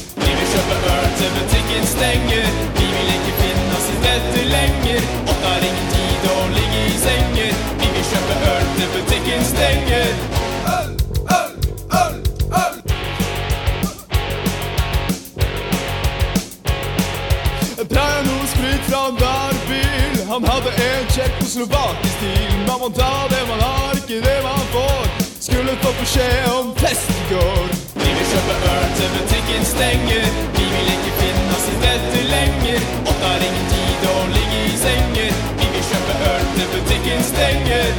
Vi vil kjøpe øl til butikken stenger. Vi vil ikke finne oss i dette lenger. Åtte har ingen tid å ligge i senger. Vi vil kjøpe øl til butikken stenger. Øl, øl, øl, øl. Drar jeg noe sprit fra en der bil Han hadde en tjekkoslovakisk stil Man må ta det man har, ikke det man får Skulle få beskjed om fest i går Vi vil kjøpe øl til butikken stenger Vi vil ikke finne oss i dette lenger Åtte har ingen tid å ligge i senger Vi vil kjøpe øl til butikken stenger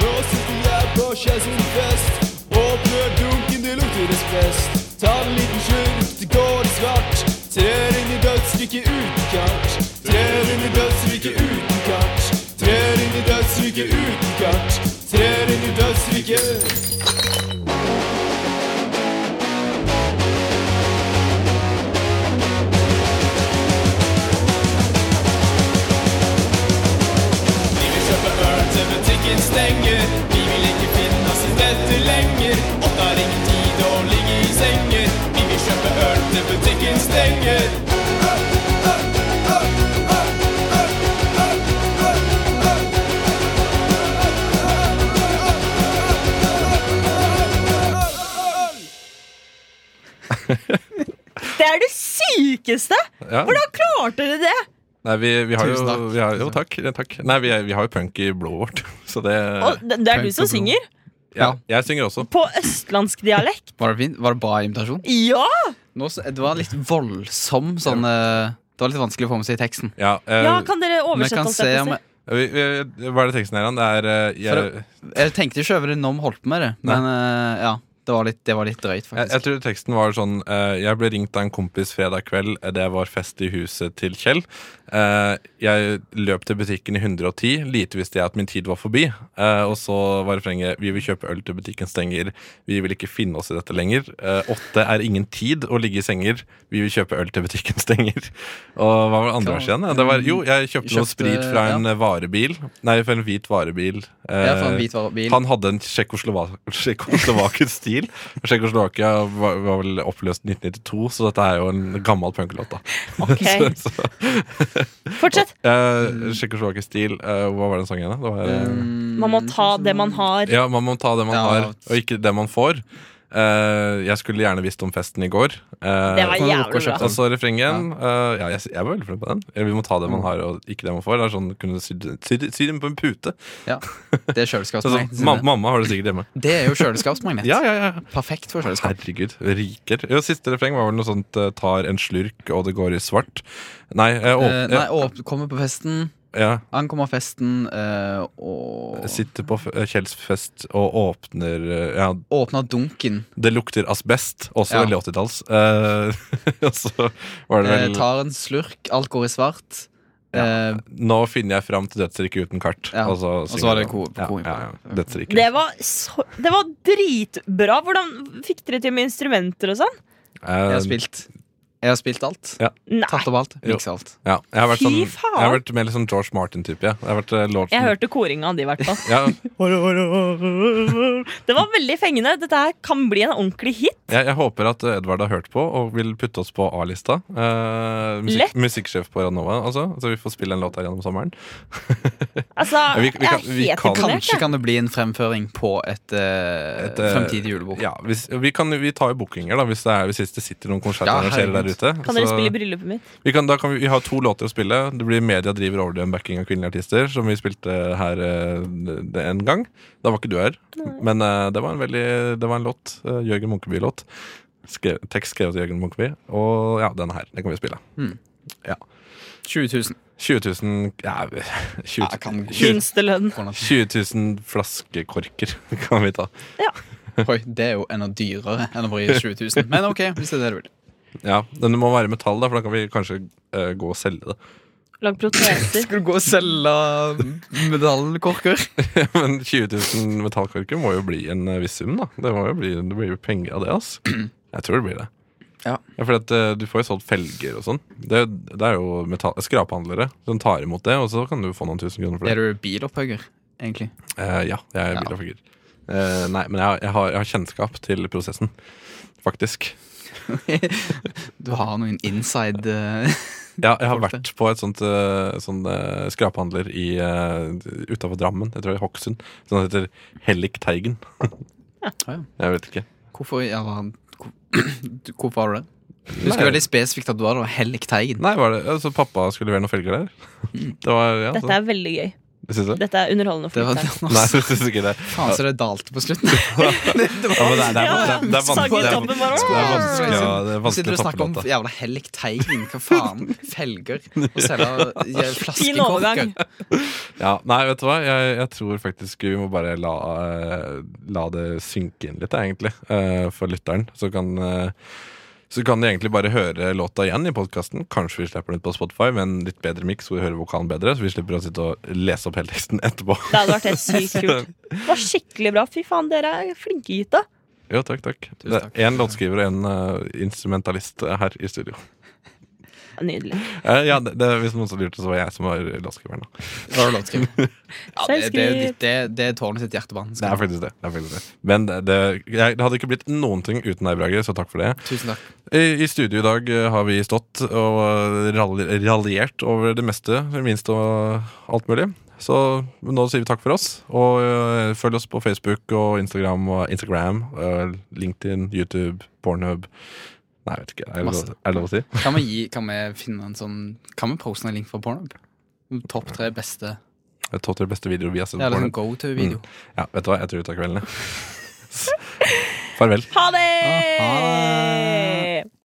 Nå sitter jeg på Kjelsund fest Åpner dunken, det lukter asbest Tar en liten slurk, det går i svart Trer inn i dødsriket uten kart Trer inn i dødsriket uten kart Trer inn i dødsriket uten kart Trer inn i dødsriket Vi vil kjøpe øl til butikken stenger Vi vil ikke finne oss i dette lenger Åtte har ingen tid å ligge i senger Vi vil kjøpe øl til butikken stenger Det er det sykeste! Ja. Hvordan klarte dere det? Nei, vi, vi har jo, Tusen takk. vi har, jo takk, ja, takk. Nei, vi, er- vi har jo punk i blodet vårt. (laughs) Så Og det det det er du som synger? ja, Jeg synger også. På østlandsk (laughs) dialekt? Var det fint? Var det bra invitasjon? Ja! Nå, så- det var litt voldsom sånn eh, Det var litt vanskelig å få med seg i teksten. Ja, eh, ja kan dere Vi oversette kan oss se om dette? jeg, vi, vi, hva er det teksten her, han? Det er eh, For jeg, jeg tenkte ikke over det når vi holdt på med det, men eh, ja. Det var litt, det var litt drøyt, Jeg, faktisk. jeg tror teksten var sånn eh, Jeg ble ringt av en kompis fredag kveld eh, Det var fest i huset til Kjell Eh, Jeg løp til butikken i 110 Lite visste jeg at min tid var forbi Eh, Og så var refrenget Vi vil kjøpe øl til butikken stenger Vi vil ikke finne oss i dette lenger Eh, Åtte er ingen tid å ligge i senger Vi vil kjøpe øl til butikken (laughs) stenger Og hva var det andre vers igjen? Det var, jo, jeg kjøpte, noe Kjøpte, sprit fra ja. en eh, varebil Nei, fra en hvit varebil Ja, for Eh, en hvit varebil. han hadde en tjekkoslovak- tjekkoslovakisk stil. Tsjekkoslovakia var, var vel oppløst 1992, så dette er jo en gammel punklåt. da. Ok. (laughs) Så- så, Fortsett. Mm. eh, Tsjekkoslovakisk stil eh, Hva var den sangen igjen? da? Det var, eh, Man må ta det man har. Ja, man må ta det man Ja. har, og ikke det man får. Eh, jeg skulle gjerne visst om festen i går. Eh, Det var jævlig bra. og så refrenget igjen. eh, ja, jeg, jeg var veldig fornøyd på den. Eh, Vi må ta det man har, og ikke det man får. Det er sånn, Kunne sy, sy, sy den på en pute. Ja, det (laughs) er Så, sånn, kjøleskapsmagnet. ma, mamma har det sikkert (laughs) hjemme. Det er jo kjøleskapsmagnet. Ja, ja, ja Perfekt for kjøleskap. Herregud, riker. Jo, siste refreng var vel noe sånt eh, 'tar en slurk og det går i svart'. Nei, eh, åp eh, Eh, nei, åp kommer på festen. ja, Ankommer festen eh, og sitter på f- eh, Kjells fest og åpner eh, Ja, åpner dunken. det lukter asbest. Også Ja. veldig 80-talls. Eh, (laughs) Og så var det Eh, vel tar en slurk, alt går i svart. Eh, Nå finner jeg fram til dødsriket uten kart. Ja, Og så, og så synger var det den. ko- ja, koing på ja, det. ja. Dødsriket. Det var, så, det var dritbra. Hvordan fikk dere til med instrumenter og sånn? jeg Eh, har spilt. Jeg har spilt alt. Nei. Tatt opp alt. Jo. Miksa alt. ja, jeg har vært Fy sånn, faen. Jeg har vært mer litt sånn George Martin-type. Ja. Jeg har vært eh, lord Jeg hørte koringa di, i hvert fall. ja, Det var veldig fengende. Dette her kan bli en ordentlig hit. Jeg, jeg håper at Edvard har hørt på og vil putte oss på A-lista. Eh, musikk, Lett. musikksjef på Radnova, altså. Så vi får spille en låt her gjennom sommeren. Altså, vi- vi kan- jeg er vi helt kan- imponert. Kanskje jeg. kan det bli en fremføring på et, eh, Et, eh, fremtidig julebord. Ja, hvis, vi, kan, vi tar jo bookinger, da, hvis det, er, hvis det sitter noen Ja, konsertarrangører der herregud. ute. Kan dere Så spille i bryllupet mitt? vi, kan, da kan vi, vi har to låter å spille. Det blir Media driver over en backing av kvinnelige artister, som vi spilte her eh, det- en gang. Da var ikke du her, men eh, det var en veldig Det var en låt. eh, Jørgen Munkeby-låt. Skrev, tekst skrevet av Jørgen Munkeby. Og ja, denne her. Den kan vi spille. 20 000 20 000 Ja, 20 Ja, Ah, kan gå. 20 Minstelønn. kroner. 20 000 flaskekorker (laughs) kan vi ta. Oi, det er jo enda dyrere enn å bare gi 20 000. Men ok, hvis det er det du vil. Ja, Den må være metall, da, for da kan vi kanskje eh, gå og selge det. (laughs) Lag proteser. Skal du gå og selge medaljekorker? Men 20 000 metallkorker må jo bli en eh, viss sum, da. Det, må jo bli, det blir jo penger av det, (clears throat) ass. Jeg tror det blir det. Ja. for at, eh, du får jo solgt felger og sånn. Det, det er jo metall, skraphandlere som tar imot det, og så kan du få noen tusen kroner for det. Er du bilopphugger, egentlig? (laughs) Eh, ja, jeg er Ja. bilaffigur. Eh, nei, men jeg, har- jeg, har, jeg har kjennskap til prosessen, faktisk. Du har noen inside eh, Ja, jeg har Folk der. vært på et sånt, eh, sånn, eh, skraphandler i eh, utenfor Drammen, jeg tror det er Hokksund, som heter Hellik Teigen. (laughs) ja. Jeg vet ikke. Hvorfor i all verden hvor- du- Hvorfor har du det? Du husker veldig spesifikt at du har det, og Hellik Teigen. Nei, var det, altså pappa skulle levere noen felger der. Mm. (laughs) Det var, ja, Dette er veldig gøy. sånn. Syns du? Dette er underholdende Det for var lytteren. Nei, (laughs) Nei, jeg syns ikke det. (laughs) faen så det dalte på (laughs) slutten. (laughs) Ja, men det, er- det, er, det, er- det, er Sang i vanskelig- det, er- toppen det bare. er vanskelig å det er Nå vanskelig sitter du og å snakker toppe om låta. jævla Hellik Teigen. Hva faen? Felger. Og selge eh, Fin overgang. flaskekorker. Ja, nei, vet du hva? Jeg, jeg tror faktisk vi må bare la, eh, la det synke inn litt, eh, egentlig, eh, for lytteren. Så kan, eh, så kan de egentlig bare høre låta igjen i podkasten. Kanskje vi slipper den ut på Spotify med en litt bedre miks, hvor vi hører vokalen bedre. Så vi slipper å sitte og lese opp hele teksten (laughs) etterpå. Det hadde vært helt (laughs) sykt kult. Det var skikkelig bra. Fy faen, dere er flinke, gutta. Jo, takk, takk. Det takk. er én låtskriver og én instrumentalist eh, her i studio. Nydelig. Eh, ja, det, det, hvis noen som lurte, så var jeg som var låtskriveren. da. Det var låtskriv. Ja, det, det, er jo Selvskriv. ditt- det, det er tårnet sitt hjertebarn. Det er faktisk det. det, er faktisk det. Men det, det, jeg, det hadde ikke blitt noen ting uten deg, Brage, så takk for det. Tusen takk. I i studio i dag eh, har vi stått og eh, rall- raljert over det meste, det minste og alt mulig. Så nå sier vi takk for oss. Og eh, følg oss på Facebook og Instagram og Instagram, eh, LinkedIn, YouTube, Pornhub. Nei, jeg vet ikke. Er det, Masse. lov, er det lov å si? Kan vi, gi, kan vi finne en sånn Kan vi poste en link fra Pornhub? Topp tre beste Jeg tok til beste videoer vi har sett Ja, på eller sånn Pornhub. go to-video. Ja, vet du hva, jeg tror vi (laughs) tar kvelden, jeg. Farvel. Ah, Ha Ha det!